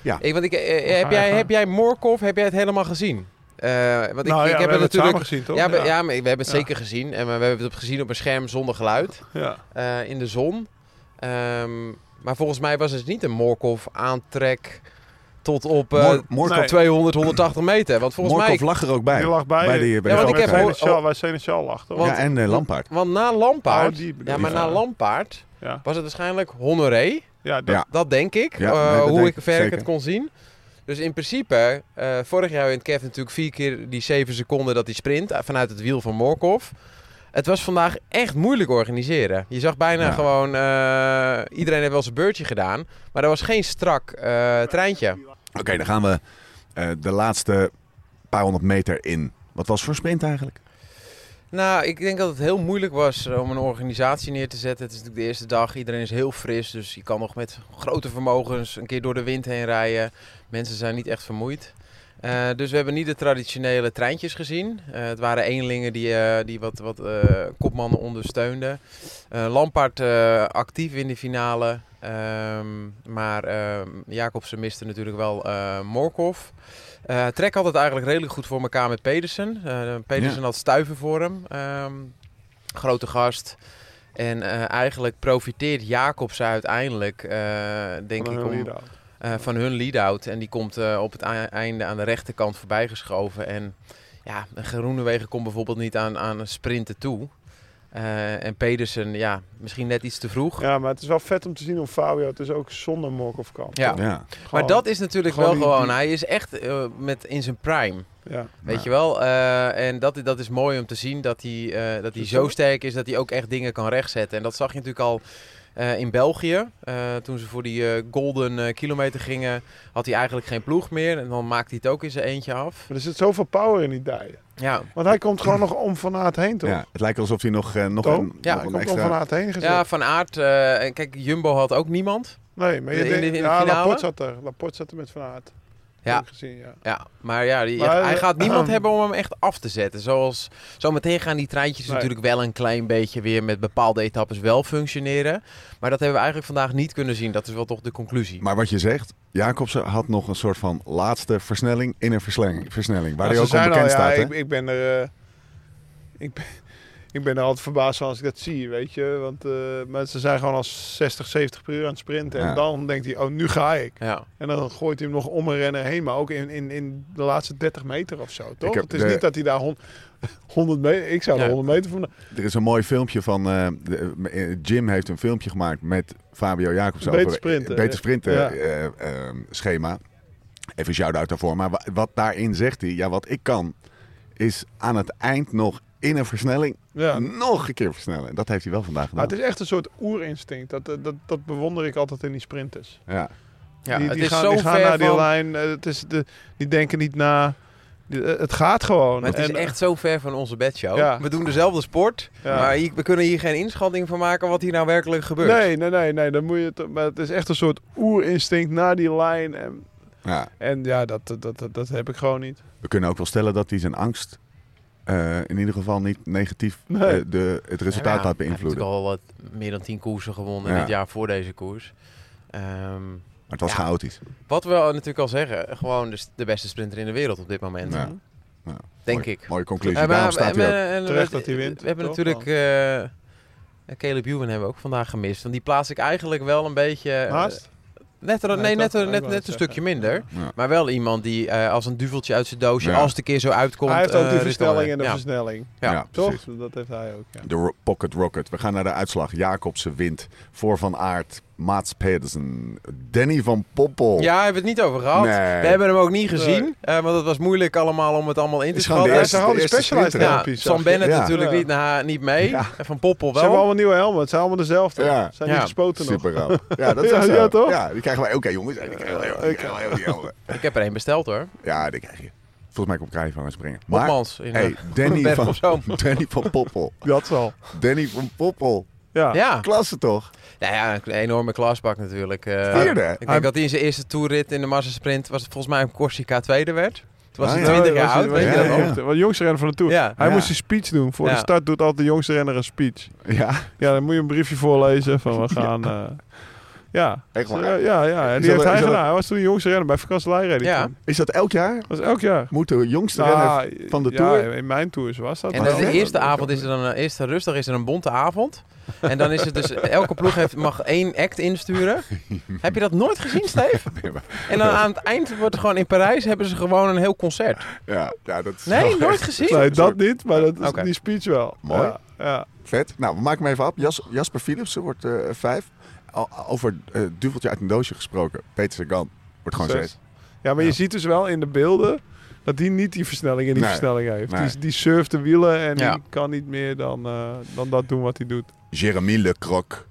A: Ja.
C: Ik, want ik, eh, eh, heb,
D: Ja,
C: jij,
D: ja.
C: heb jij Morkov, heb jij het helemaal gezien? Eh, want ik,
D: nou ja, we
C: ik heb
D: hebben
C: het
D: het samen
C: natuurlijk.
D: gezien, toch?
C: ja, maar, ja, maar we hebben het
D: Ja.
C: zeker gezien. En we, we hebben het gezien op een scherm zonder geluid.
D: Ja.
C: eh, in de zon. Ehm, maar volgens mij was het niet een Morkov aantrek tot op eh,
A: Mor- Morkov,
D: Nee.
C: 200, 180 meter. Want volgens
A: Morkov
C: mij
A: lag er ook bij.
D: Die lag bij.
A: bij die, bij
C: Ja,
A: die
C: want ik heb
A: wedstrijd.
C: gehoord-
D: Seneschal- Waar Seneschal lag, toch?
C: Want-
A: Ja, en eh, Lampaard.
C: Want na Lampaard,
D: Oh, die bedoel
C: ja, maar
D: je.
C: na
D: Ja.
C: Lampaard
D: Ja.
C: was het waarschijnlijk Honoré.
D: Ja, dat,
A: Ja.
C: Dat denk ik,
A: Ja,
C: eh,
A: nee, dat
C: hoe
A: denk
C: ik
A: ik
C: ver ik
A: zeker.
C: het kon zien. Dus in principe, eh, vorig jaar in het Kev natuurlijk vier keer die zeven seconden dat hij sprint eh, vanuit het wiel van Morkov. Het was vandaag echt moeilijk organiseren. Je zag bijna
A: Ja.
C: gewoon, eh, iedereen heeft wel zijn beurtje gedaan, maar er was geen strak eh, treintje.
A: Oké, dan gaan we eh, de laatste paar honderd meter in. Wat was voor sprint eigenlijk?
C: Nou, ik denk dat het heel moeilijk was eh, om een organisatie neer te zetten. Het is natuurlijk de eerste dag, iedereen is heel fris. Dus je kan nog met grote vermogens een keer door de wind heen rijden. Mensen zijn niet echt vermoeid. Eh, dus we hebben niet de traditionele treintjes gezien. Eh, het waren eenlingen die, eh, die wat, wat eh, kopmannen ondersteunden. Eh Lampaard eh, actief in de finale. Ehm, maar ehm Jacobsen miste natuurlijk wel eh Morkov. Eh, Trek had het eigenlijk redelijk goed voor elkaar met Pedersen. Eh, Pedersen had stuiven voor hem. Ehm, grote gast. En eh, eigenlijk profiteert Jacobsen uiteindelijk, eh, denk
D: van
C: ik,
D: hun
C: om,
D: leader.
C: eh, van hun lead-out. En die komt eh, op het ei- einde aan de rechterkant voorbij geschoven. En ja, Groenewegen komt bijvoorbeeld niet aan, aan sprinten toe. Eh, en Pedersen, ja, misschien net iets te vroeg.
D: Ja, maar het is wel vet om te zien hoe Fabio het dus ook zonder Morkov kan.
C: Ja.
D: toch?
A: Ja.
D: Gewoon-
C: maar dat is natuurlijk
D: gewoon
C: wel
D: die-
C: gewoon,
D: die-
C: hij is echt eh, met, in zijn prime.
D: Ja.
C: Weet je wel? Eh, en dat, dat is mooi om te zien dat hij, eh, dat hij zo sterk is dat hij ook echt dingen kan rechtzetten. En dat zag je natuurlijk al eh, in België. Eh, toen ze voor die eh, golden eh, kilometer gingen, had hij eigenlijk geen ploeg meer. En dan maakt hij het ook in zijn eentje af.
D: Maar er zit zoveel power in die dijen.
C: Ja,
D: Want hij komt gewoon nog om van Aert heen, toch?
A: Ja, het lijkt alsof hij nog, eh, nog
D: Toon?
A: een, nog
C: Ja,
D: hij
A: een
D: komt om
A: extra...
D: van Aert heen gezet.
C: ja Van Aert. eh, en kijk, Jumbo had ook niemand.
D: nee, maar je
C: in de- in de
D: denkt, ja,
C: finale?
D: Laporte zat er. Laporte zat er met Van Aert.
C: Ja.
D: Heb ik Gezien, ja.
C: Ja, maar ja, die-
D: Maar,
C: hij
D: eh,
C: gaat niemand hebben om hem echt af te zetten. Zoals zometeen gaan die treintjes
D: Nee.
C: natuurlijk wel een klein beetje weer met bepaalde etappes wel functioneren. Maar dat hebben we eigenlijk vandaag niet kunnen zien. Dat is wel toch de conclusie.
A: Maar wat je zegt, Jacobsen had nog een soort van laatste versnelling in een versnelling. versnelling waar hij
D: Ja, ze
A: ook
D: zijn
A: onbekend
D: al-
A: staat,
D: ja,
A: hè?
D: ik, ik ben er... eh, ik, ben, ik ben er altijd verbaasd van als ik dat zie, weet je. Want eh, mensen zijn gewoon al 60, 70 per uur aan het sprinten.
A: Ja.
D: En dan denkt hij, oh, nu ga ik.
C: Ja.
D: En dan gooit hij hem nog om een renner heen, maar ook in, in, in de laatste 30 meter of zo, toch?
A: heb
D: Het is
A: de-
D: niet dat hij daar hon- 100 meter... Ik zou er
C: Ja.
D: 100 meter van...
A: Er is een mooi filmpje van... eh, de- eh, Jim heeft een filmpje gemaakt met Fabio Jacobsen.
D: Beter
A: over-
D: sprinten.
A: Beter sprinten
D: Ja.
A: eh, eh, schema. Even een shout-out daarvoor. Maar wa- wat daarin zegt hij, ja, wat ik kan, is aan het eind nog in een versnelling
D: Ja.
A: nog een keer versnellen. Dat heeft hij wel vandaag gedaan.
D: Maar het is echt een soort oerinstinct. Dat, eh, dat, dat bewonder ik altijd in die sprinters.
A: Ja.
C: Ja,
D: die,
C: het
D: die
C: is
D: gaan,
C: zo
D: die gaan
C: ver
D: naar die
C: van-
D: lijn. eh, Het is de, die denken niet na. Die- eh, Het gaat gewoon.
C: Maar het is
D: En,
C: echt zo ver van onze bedshow.
D: Ja.
C: We doen dezelfde sport,
D: Ja.
C: maar hier- we kunnen hier geen inschatting van maken wat hier nou werkelijk gebeurt.
D: Nee, nee, nee, nee. Dan moet je het, maar het is echt een soort oerinstinct naar die lijn. En,
A: ja.
D: en ja, dat, dat, dat, dat heb ik gewoon niet.
A: We kunnen ook wel stellen dat hij zijn angst eh, in ieder geval niet negatief
D: Nee.
A: eh, de, het resultaat
C: Ja,
A: laat
C: Hij
A: beïnvloeden.
C: heeft natuurlijk al wat, meer dan 10 koersen gewonnen
A: Ja.
C: dit jaar voor deze koers. Ehm,
A: Maar het was
C: Ja.
A: chaotisch.
C: wat we al natuurlijk al zeggen, gewoon de, s- de beste sprinter in de wereld op dit moment,
A: Ja.
C: denk
A: Mooi-
C: ik.
A: Mooie conclusie.
C: Eh, maar-
A: Daarom staat
C: en-
A: hij ook.
C: en- en-
D: Terecht
C: we-
D: dat hij wint,
C: We hebben
D: toch?
C: natuurlijk eh Caleb Ewan hebben we ook vandaag gemist. Want die plaats ik eigenlijk wel een beetje... eh,
D: Naast?
C: Net, er-
D: Nee,
C: nee,
D: dat
C: net,
D: kan
C: er-
D: ik
C: net,
D: wel
C: net
D: eens
C: een
D: zeggen.
C: stukje minder.
A: Ja.
C: Maar wel iemand die eh, als een duveltje uit zijn doosje,
A: Ja.
C: als het een keer zo uitkomt...
D: hij heeft ook
C: eh,
D: die
C: dit
D: versnelling
C: alweer.
D: en de
C: Ja.
D: versnelling.
C: Ja.
D: Toch?
A: precies.
D: Dat heeft hij ook. Ja.
A: De ro- Pocket Rocket. We gaan naar de uitslag. Jacobsen wint voor Van Aert, Maats Pedersen, Danny van Poppel.
C: Ja, hebben we het niet over gehad.
A: Nee.
C: We hebben hem ook niet gezien,
D: Nee.
C: eh, want het was moeilijk allemaal om het allemaal in te
A: Is gewoon de
C: schatten.
D: Hij
A: eerste-
D: zag al die
A: de eerste
D: specialized
A: sprinter, hè?
C: Ja,
D: helmpjes. zag
C: Sam
D: je.
C: Bennett
A: Ja.
C: natuurlijk
D: Ja.
C: Niet, na, niet mee.
A: Ja.
C: En Van Poppel
D: Ze hebben
C: wel.
D: allemaal nieuwe helmen. Het zijn allemaal dezelfde.
A: Ja.
D: Ze zijn niet
C: Ja.
D: gespoten nog.
A: Super raar. Ja, dat is
D: Ja,
A: zo.
D: ja, toch?
A: Ja, die krijgen wij. Oké, jongens. Die krijgen wij ook. Die krijgen wij ook, die helmen.
C: Ik heb er één besteld hoor.
A: Ja, die krijg je. Volgens mij komt Krijvangen springen. Maar,
C: Hopmans. in,
A: hey,
C: eh,
A: Danny
C: Berg
A: van,
C: op Zoom.
A: Danny van Poppel.
D: Dat zal.
A: Danny van Poppel.
D: Ja.
C: Ja.
A: Klasse toch?
C: Nou ja, een enorme klasbak natuurlijk. Eh,
A: Vierde, hè?
C: Ik denk
D: Hij-
C: dat hij in zijn eerste toerrit in de massasprint was het volgens mij een Corsica tweede werd. Toen was
A: Ah,
C: hij
A: ja.
C: 20 jaar
D: was-
C: oud,
D: was-
C: weet je
A: ja,
C: dat
A: ja.
C: nog?
D: Want de jongste renner van de Tour.
C: Ja.
D: Hij
A: Ja.
D: moest een speech doen. Voor
C: Ja.
D: de start doet altijd de jongste renner een speech.
A: Ja.
D: Ja, dan moet je een briefje voorlezen van we gaan... eh, ja.
A: Echt waar?
D: Ja, ja, ja. En
A: Is
D: die
A: dat-
D: heeft
A: is
D: hij
A: dat-
D: gedaan. Hij was toen de jongste renner bij Vakantselij reed hij
C: Ja.
D: toen.
A: Is dat elk jaar?
D: Dat was elk jaar.
A: Moet de jongste renner...
D: Nou,
A: van de
D: ja,
A: Tour?
D: in mijn tours was dat.
C: En
A: Maar
C: dan de
A: dat-
C: eerste avond is er dan een eerste rustig is er een bonte avond. En dan is het dus elke ploeg heeft, mag één act insturen. Heb je dat nooit gezien, Steve?
A: Nee, maar-
C: En dan aan het eind wordt er gewoon in Parijs hebben ze gewoon een heel concert.
A: Ja, ja, dat is wel
C: Nee,
A: echt
C: nooit gezien.
D: Nee, dat niet, maar dat is
C: Oké.
D: die speech wel.
A: Mooi.
D: Ja, ja.
A: vet. Nou, we maken hem even op. Jas, Jasper Philipsen wordt eh, vijf. Al- over eh duveltje uit een doosje gesproken. Peter Sagan wordt gewoon
D: Zes.
A: zes.
D: Ja, maar je
A: Ja.
D: ziet dus wel in de beelden dat die niet die versnelling in die
A: Nee,
D: versnelling heeft.
A: nee.
D: Die, die surft de wielen en
C: Ja.
D: die kan niet meer dan, eh, dan dat doen wat hij doet.
A: Jeremy Lecroc.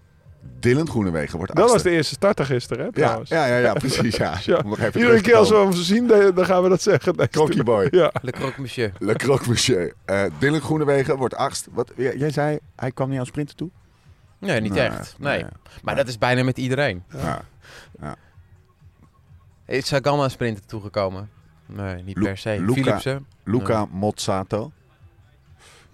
A: Dylan Groenewegen wordt
D: Dat was
A: achtste.
D: de eerste starter gisteren, hè,
A: ja,
D: trouwens.
A: ja, ja, ja, precies. Ja.
D: Ja.
A: Om nog even
D: Iedere
A: terug te
D: keer als we
A: komen.
D: hem zien, dan dan gaan we dat zeggen. deze
A: Crocky
D: tour.
A: boy.
D: Ja.
C: Le croque monsieur.
A: Lecroc, monsieur. Eh, Dylan Groenewegen wordt achtst. Wat, j- jij zei, hij kwam niet aan sprinten toe?
C: Nee, niet
A: Nee,
C: echt. Nee.
A: nee.
C: Maar dat is bijna met iedereen.
A: Ja. Nou,
C: Is Sagan aan sprinten toegekomen? Nee, niet
A: Lu-
C: per se.
A: Luca-
C: Philipsen.
A: Luca Mozzato.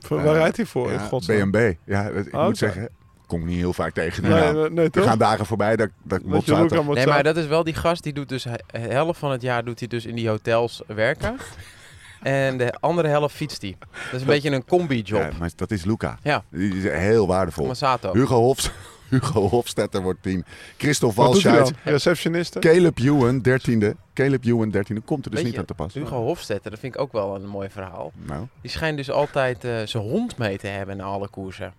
D: Waar
A: Eh,
D: rijdt hij voor? Oh, in
A: Ja,
D: godsnaam?
A: BNB. Ja, dat- ik
D: Oké.
A: moet zeggen, kom ik niet heel vaak tegen.
D: Nee,
A: Nou,
D: nee, nee,
A: er
D: toch?
A: gaan dagen voorbij dat, dat
D: Dat je Luca
A: Mozzato...
D: moet
C: Nee, maar dat is wel die gast die doet dus he- helft van het jaar doet hij dus in die hotels werken. en de andere helft fietst hij. Dat is een beetje een combi-job.
A: Ja, maar dat is Luca.
C: Ja.
A: Die is heel waardevol.
C: Massato.
A: Hugo, Hofs, Hugo Hofstetter wordt tien. Christophe
D: Wat doet hij
A: Walscheid.
D: dan? Receptioniste?
A: Caleb Ewan, dertiende. Caleb Ewan, dertiende. Komt er dus
C: Weet
A: niet
C: je,
A: aan te pas.
C: Hugo Hofstetter, dat vind ik ook wel een mooi verhaal.
A: Nou,
C: Die schijnt dus altijd eh, zijn hond mee te hebben in alle koersen.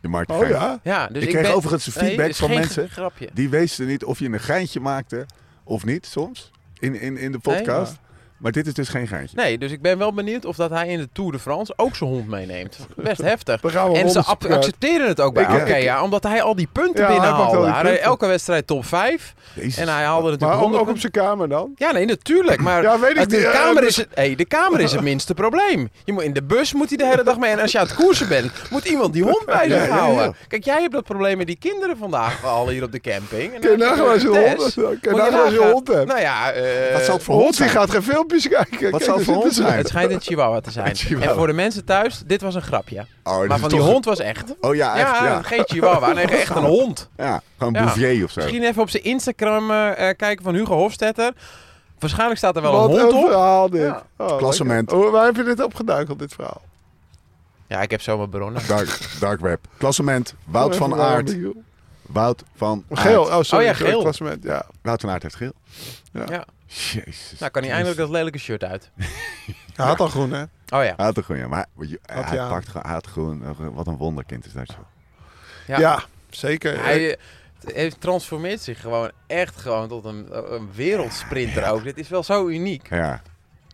A: je maakt een
D: Oh
A: geintje.
D: ja?
C: Ja, dus
A: ik
C: ik
A: kreeg
C: ben-
A: overigens
C: Nee,
A: feedback
C: dat is
A: van
C: geen
A: mensen.
C: grapje.
A: Die wisten niet of je een geintje maakte of niet soms. In, in, in de podcast. Maar dit is dus geen geintje.
C: Nee, dus ik ben wel benieuwd of dat hij in de Tour de France ook zijn hond meeneemt. Best heftig.
D: Dan gaan we
C: En ze
D: rondes
C: ap-
D: kwijt.
C: accepteren het ook bij
A: Ik, eh,
C: Arkea, omdat hij al die punten
D: Ja, hij pakt al
C: binnenhaalde.
D: die
C: Hij reed
D: punten.
C: elke wedstrijd top 5
A: Jezus.
C: en hij haalde natuurlijk
D: Maar ook,
C: 100
D: ook op zijn kamer dan?
C: Ja, nee, natuurlijk. Maar
D: Ja, weet ik
C: als de,
D: niet. Ja,
C: kamer
D: dus-
C: is het, hey, de kamer is het minste probleem. Je moet, in de bus moet hij de hele dag mee. En als je aan het koersen bent, moet iemand die hond bij zich
A: Ja, ja, ja.
C: houden. Kijk, jij hebt dat probleem met die kinderen vandaag al hier op de camping. En
D: Kun je
C: dan heb
D: nagaan als je een
C: Tess.
D: hond, kun je
C: Moet
D: nagaan als je een
C: nagaan-
D: hond hebt?
C: Nou ja, eh,
A: Wat zal het voor hond
D: Hond die
A: zijn?
D: gaat geen filmpjes kijken.
A: Wat
D: Kijk,
A: zal het
D: daar
A: voor hond
D: zitten ze.
A: zijn?
C: het schijnt een chihuahua te zijn.
A: chihuahua.
C: En voor de mensen thuis, dit was een grapje.
A: Oh, dit
C: maar
A: is
C: van die
A: toch-
C: hond was echt.
A: Oh ja, echt.
C: ja,
A: Ja, ja.
C: geen chihuahua. Nee, echt een hond.
A: gewoon
C: Ja.
A: Bouvier of zo.
C: Misschien even op zijn Instagram eh, eh, kijken van Hugo Hofstetter. Waarschijnlijk staat er wel
D: Wat
C: een hond op.
D: verhaal dit.
C: Ja.
D: Oh,
A: Klassement.
D: lekker. Hoe- waar heb je dit opgeduikeld, dit verhaal?
C: Ja, ik heb zomaar bronnen.
A: Dark, dark web. Klassement. Wout van
D: Even waarom,
A: Aert.
D: joh.
A: Wout van Aert.
D: Geel. Oh, sorry.
C: Oh ja,
D: sorry,
C: geel.
D: Klassement, ja.
A: Wout van Aert heeft geel.
C: Ja.
A: Jezus.
C: Nou, kan hij eindelijk dat lelijke shirt uit.
D: Hij had al groen, hè?
C: Oh ja.
A: Hij had een groen, ja. Maar je-
D: Had
A: hij
D: hij aan.
A: pakt gewoon, hij had groen. Eh, Wat een wonderkind is dat. joh.
D: Ja,
C: Ja.
D: zeker.
C: Hij eh, t- hij transformeert zich gewoon echt gewoon tot een, eh, een wereldsprinter ook. Dit is wel zo uniek.
A: Ja.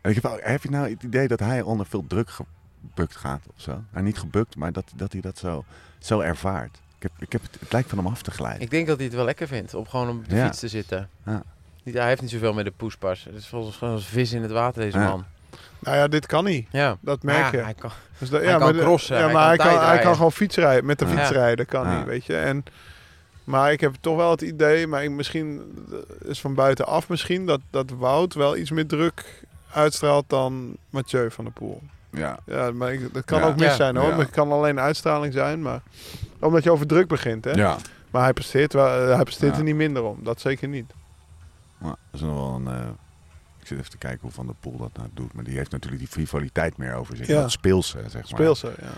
A: En ik heb, ook- heb je nou het idee dat hij onder veel druk gebukt gaat of zo? Nou, niet gebukt, maar dat, dat hij dat zo, zo ervaart. Ik heb, ik heb het, het lijkt van hem af te glijden.
C: Ik denk dat hij het wel lekker vindt om gewoon op de
A: Ja.
C: fiets te zitten.
A: Ja.
C: Niet, hij heeft niet zoveel met de poespas. Het is volgens gewoon als vis in het water, deze
A: Ja.
C: man.
D: nou ja, dit kan niet.
C: Ja.
D: Dat merk
C: Ja,
D: je.
C: hij kan-
D: Dus dat,
C: hij
D: ja,
C: kan
D: maar de-
C: crossen,
D: Ja,
C: hij
D: maar
C: kan
D: hij kan, hij
C: tijdrijden.
D: kan gewoon fietsrijden. Met de
A: Ja.
D: fiets rijden kan
A: Ja.
D: niet, weet je. En, maar ik heb toch wel het idee, maar ik, misschien eh, is van buitenaf misschien... Dat, dat Wout wel iets meer druk uitstraalt dan Mathieu van der Poel.
A: Ja.
D: Ja, maar ik, dat kan
A: Ja.
D: ook mis
C: Ja.
D: zijn hoor.
A: Ja.
D: Het kan alleen uitstraling zijn, maar omdat je over druk begint, hè.
A: Ja.
D: Maar hij presteert, wel, eh, hij presteert
A: Ja.
D: er niet minder om. Dat zeker niet.
A: Nou, dat is nog wel een... eh, ik zit even te kijken hoe Van der Poel dat nou doet. Maar die heeft natuurlijk die rivaliteit meer over zich.
D: Ja.
A: Dat speelse, zeg maar.
D: Speelse, ja.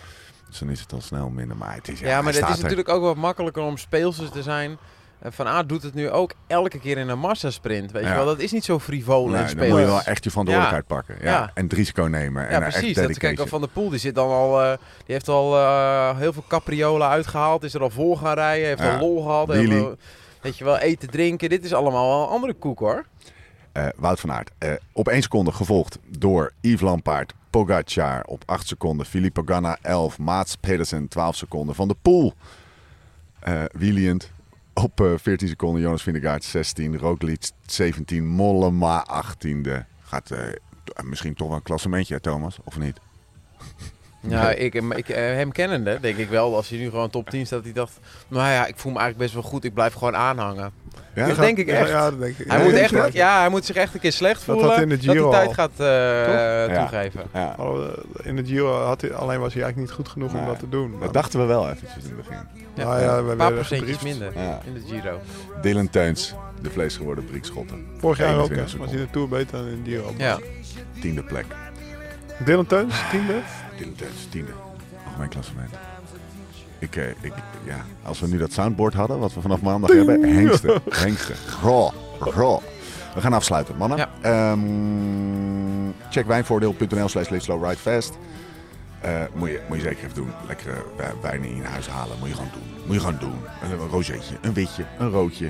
A: Dus dan is het al snel minder. Maar het is,
C: Ja, maar
A: hij
C: het
A: staat
C: is
A: er.
C: natuurlijk ook wat makkelijker om speelsters te zijn En Van Aert doet het nu ook elke keer in een massasprint. Weet
A: Ja.
C: je wel, dat is niet zo frivol
A: Nee,
C: in
A: dan moet je
C: spelen.
A: wel echt je verantwoordelijkheid pakken. Ja.
C: Ja.
A: En het risico nemen.
C: Ja,
A: En eh, echt
C: precies. Dat, kijk,
A: dedication.
C: al Van der Poel die zit dan al, eh, die heeft al eh, heel veel capriolen uitgehaald. Is er al voor gaan rijden. Heeft
A: Ja.
C: al lol gehad. heeft
A: Wheelie.
C: al- weet je wel, eten, drinken. Dit is allemaal wel een andere koek hoor.
A: Eh, Wout van Aert. eh, op 1 seconde gevolgd door Yves Lampaard, Pogacar op 8 seconden, Filippo Ganna 11, Maats Pedersen 12 seconden, Van de Poel eh wielend op eh, 14 seconden, Jonas Vindegaard 16, Roglic 17, Mollema 18e. Gaat eh, t- misschien toch wel een klassementje, hè, Thomas, of niet?
C: Ja, ik, ik, eh, hem kennende denk ik wel. Als hij nu gewoon top 10 staat, die dacht... Nou ja, ik voel me eigenlijk best wel goed. Ik blijf gewoon aanhangen.
A: Ja,
C: dat denk ik
D: Ja,
C: echt.
D: ja, dat denk ik.
C: Hij,
D: Ja,
C: moet
D: dat
C: echt,
D: denk ik.
C: ja, hij moet zich echt een keer slecht
D: Dat
C: voelen.
D: had in de Giro
C: dat hij tijd
D: al.
C: gaat eh,
A: Toch? Ja.
C: toegeven.
A: Ja,
D: Al, eh, In het Giro had hij, alleen was hij eigenlijk niet goed genoeg om
A: Nee.
D: dat te doen.
A: dat dachten we wel eventjes in het begin.
C: Ja.
D: Nou ja, we hebben
C: Een paar
D: weer
C: procentjes
D: gebriefd.
C: minder
A: Ja.
C: in de Giro.
A: Dylan Teuns, de vleesgeworden Briekschotten,
D: Vorig jaar ook, hè,
A: 21
D: was hij de Tour beter dan in het Giro.
C: Ja.
A: tiende plek.
D: Dylan Teuns, tiende.
A: Dylan Teuns, tiende. Algemeen klassement. Ik, eh, ik, ja, als we nu dat soundboard hadden, wat we vanaf maandag hebben. Hengsten, hengsten. Goh, goh. We gaan afsluiten, mannen.
C: Ja.
A: Ehm, check wijnvoordeel.nl slash Let's Slow Ride Fast. Eh, moet, je, moet je zeker even doen. Lekkere wij- wijnen in huis halen. Moet je gewoon doen. Moet je gewoon doen. Een, een rozeetje, een witje, een roodje.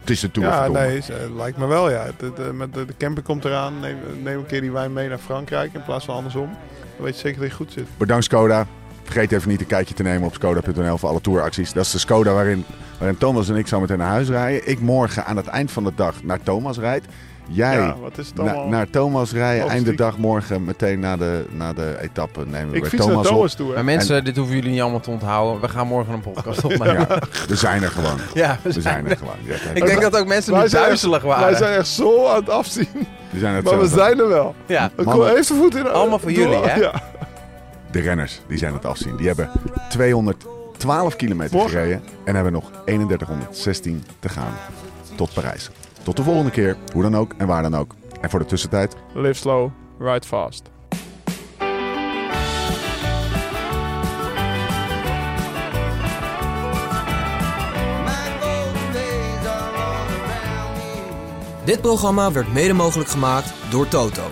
A: Het is de Tour,
D: Ja,
A: verdomme.
D: nee, is- eh, lijkt me wel, ja. Het- het, eh, met de, de camper komt eraan. Neem, neem een keer die wijn mee naar Frankrijk in plaats van andersom. Dan weet je zeker dat je goed zit.
A: Bedankt Skoda. Vergeet even niet een kijkje te nemen op skoda.nl voor alle touracties. Dat is de Skoda waarin, waarin Thomas en ik zo meteen naar huis rijden. Ik morgen aan het eind van de dag naar Thomas rijd. Jij
D: Ja, wat is het
A: na-
D: allemaal?
A: naar Thomas rijden. Eind de
D: Logistiek.
A: dag morgen meteen na de, na de etappe nemen we
D: ik
A: bij
D: fiets naar
A: Thomas op.
D: Thomas toe, hè.
C: Maar mensen, dit hoeven jullie niet allemaal te onthouden. We gaan morgen een podcast opnemen. Ja,
A: Ja, we zijn er gewoon.
C: we
A: We
C: zijn-
A: zijn er gewoon. Ja,
C: Ik denk dat ook mensen nu
D: zijn echt-
C: duizelig
D: Wij
C: waren.
D: zijn echt zo aan het afzien.
A: we zijn er
D: Maar we
A: zelf.
D: zijn er wel.
C: Ja.
D: Het
A: Mannen.
D: heeft een voet in de-
C: Allemaal voor
D: Doe-
C: jullie, hè?
D: Ja.
A: De renners, die zijn het afzien. Die hebben 212 kilometer
D: Morgen.
A: gereden en hebben nog 3116 te gaan tot Parijs. Tot de volgende keer, hoe dan ook en waar dan ook. En voor de tussentijd,
D: Live slow, ride fast.
B: My golden days are all around me.
F: Dit programma werd mede mogelijk gemaakt door Toto.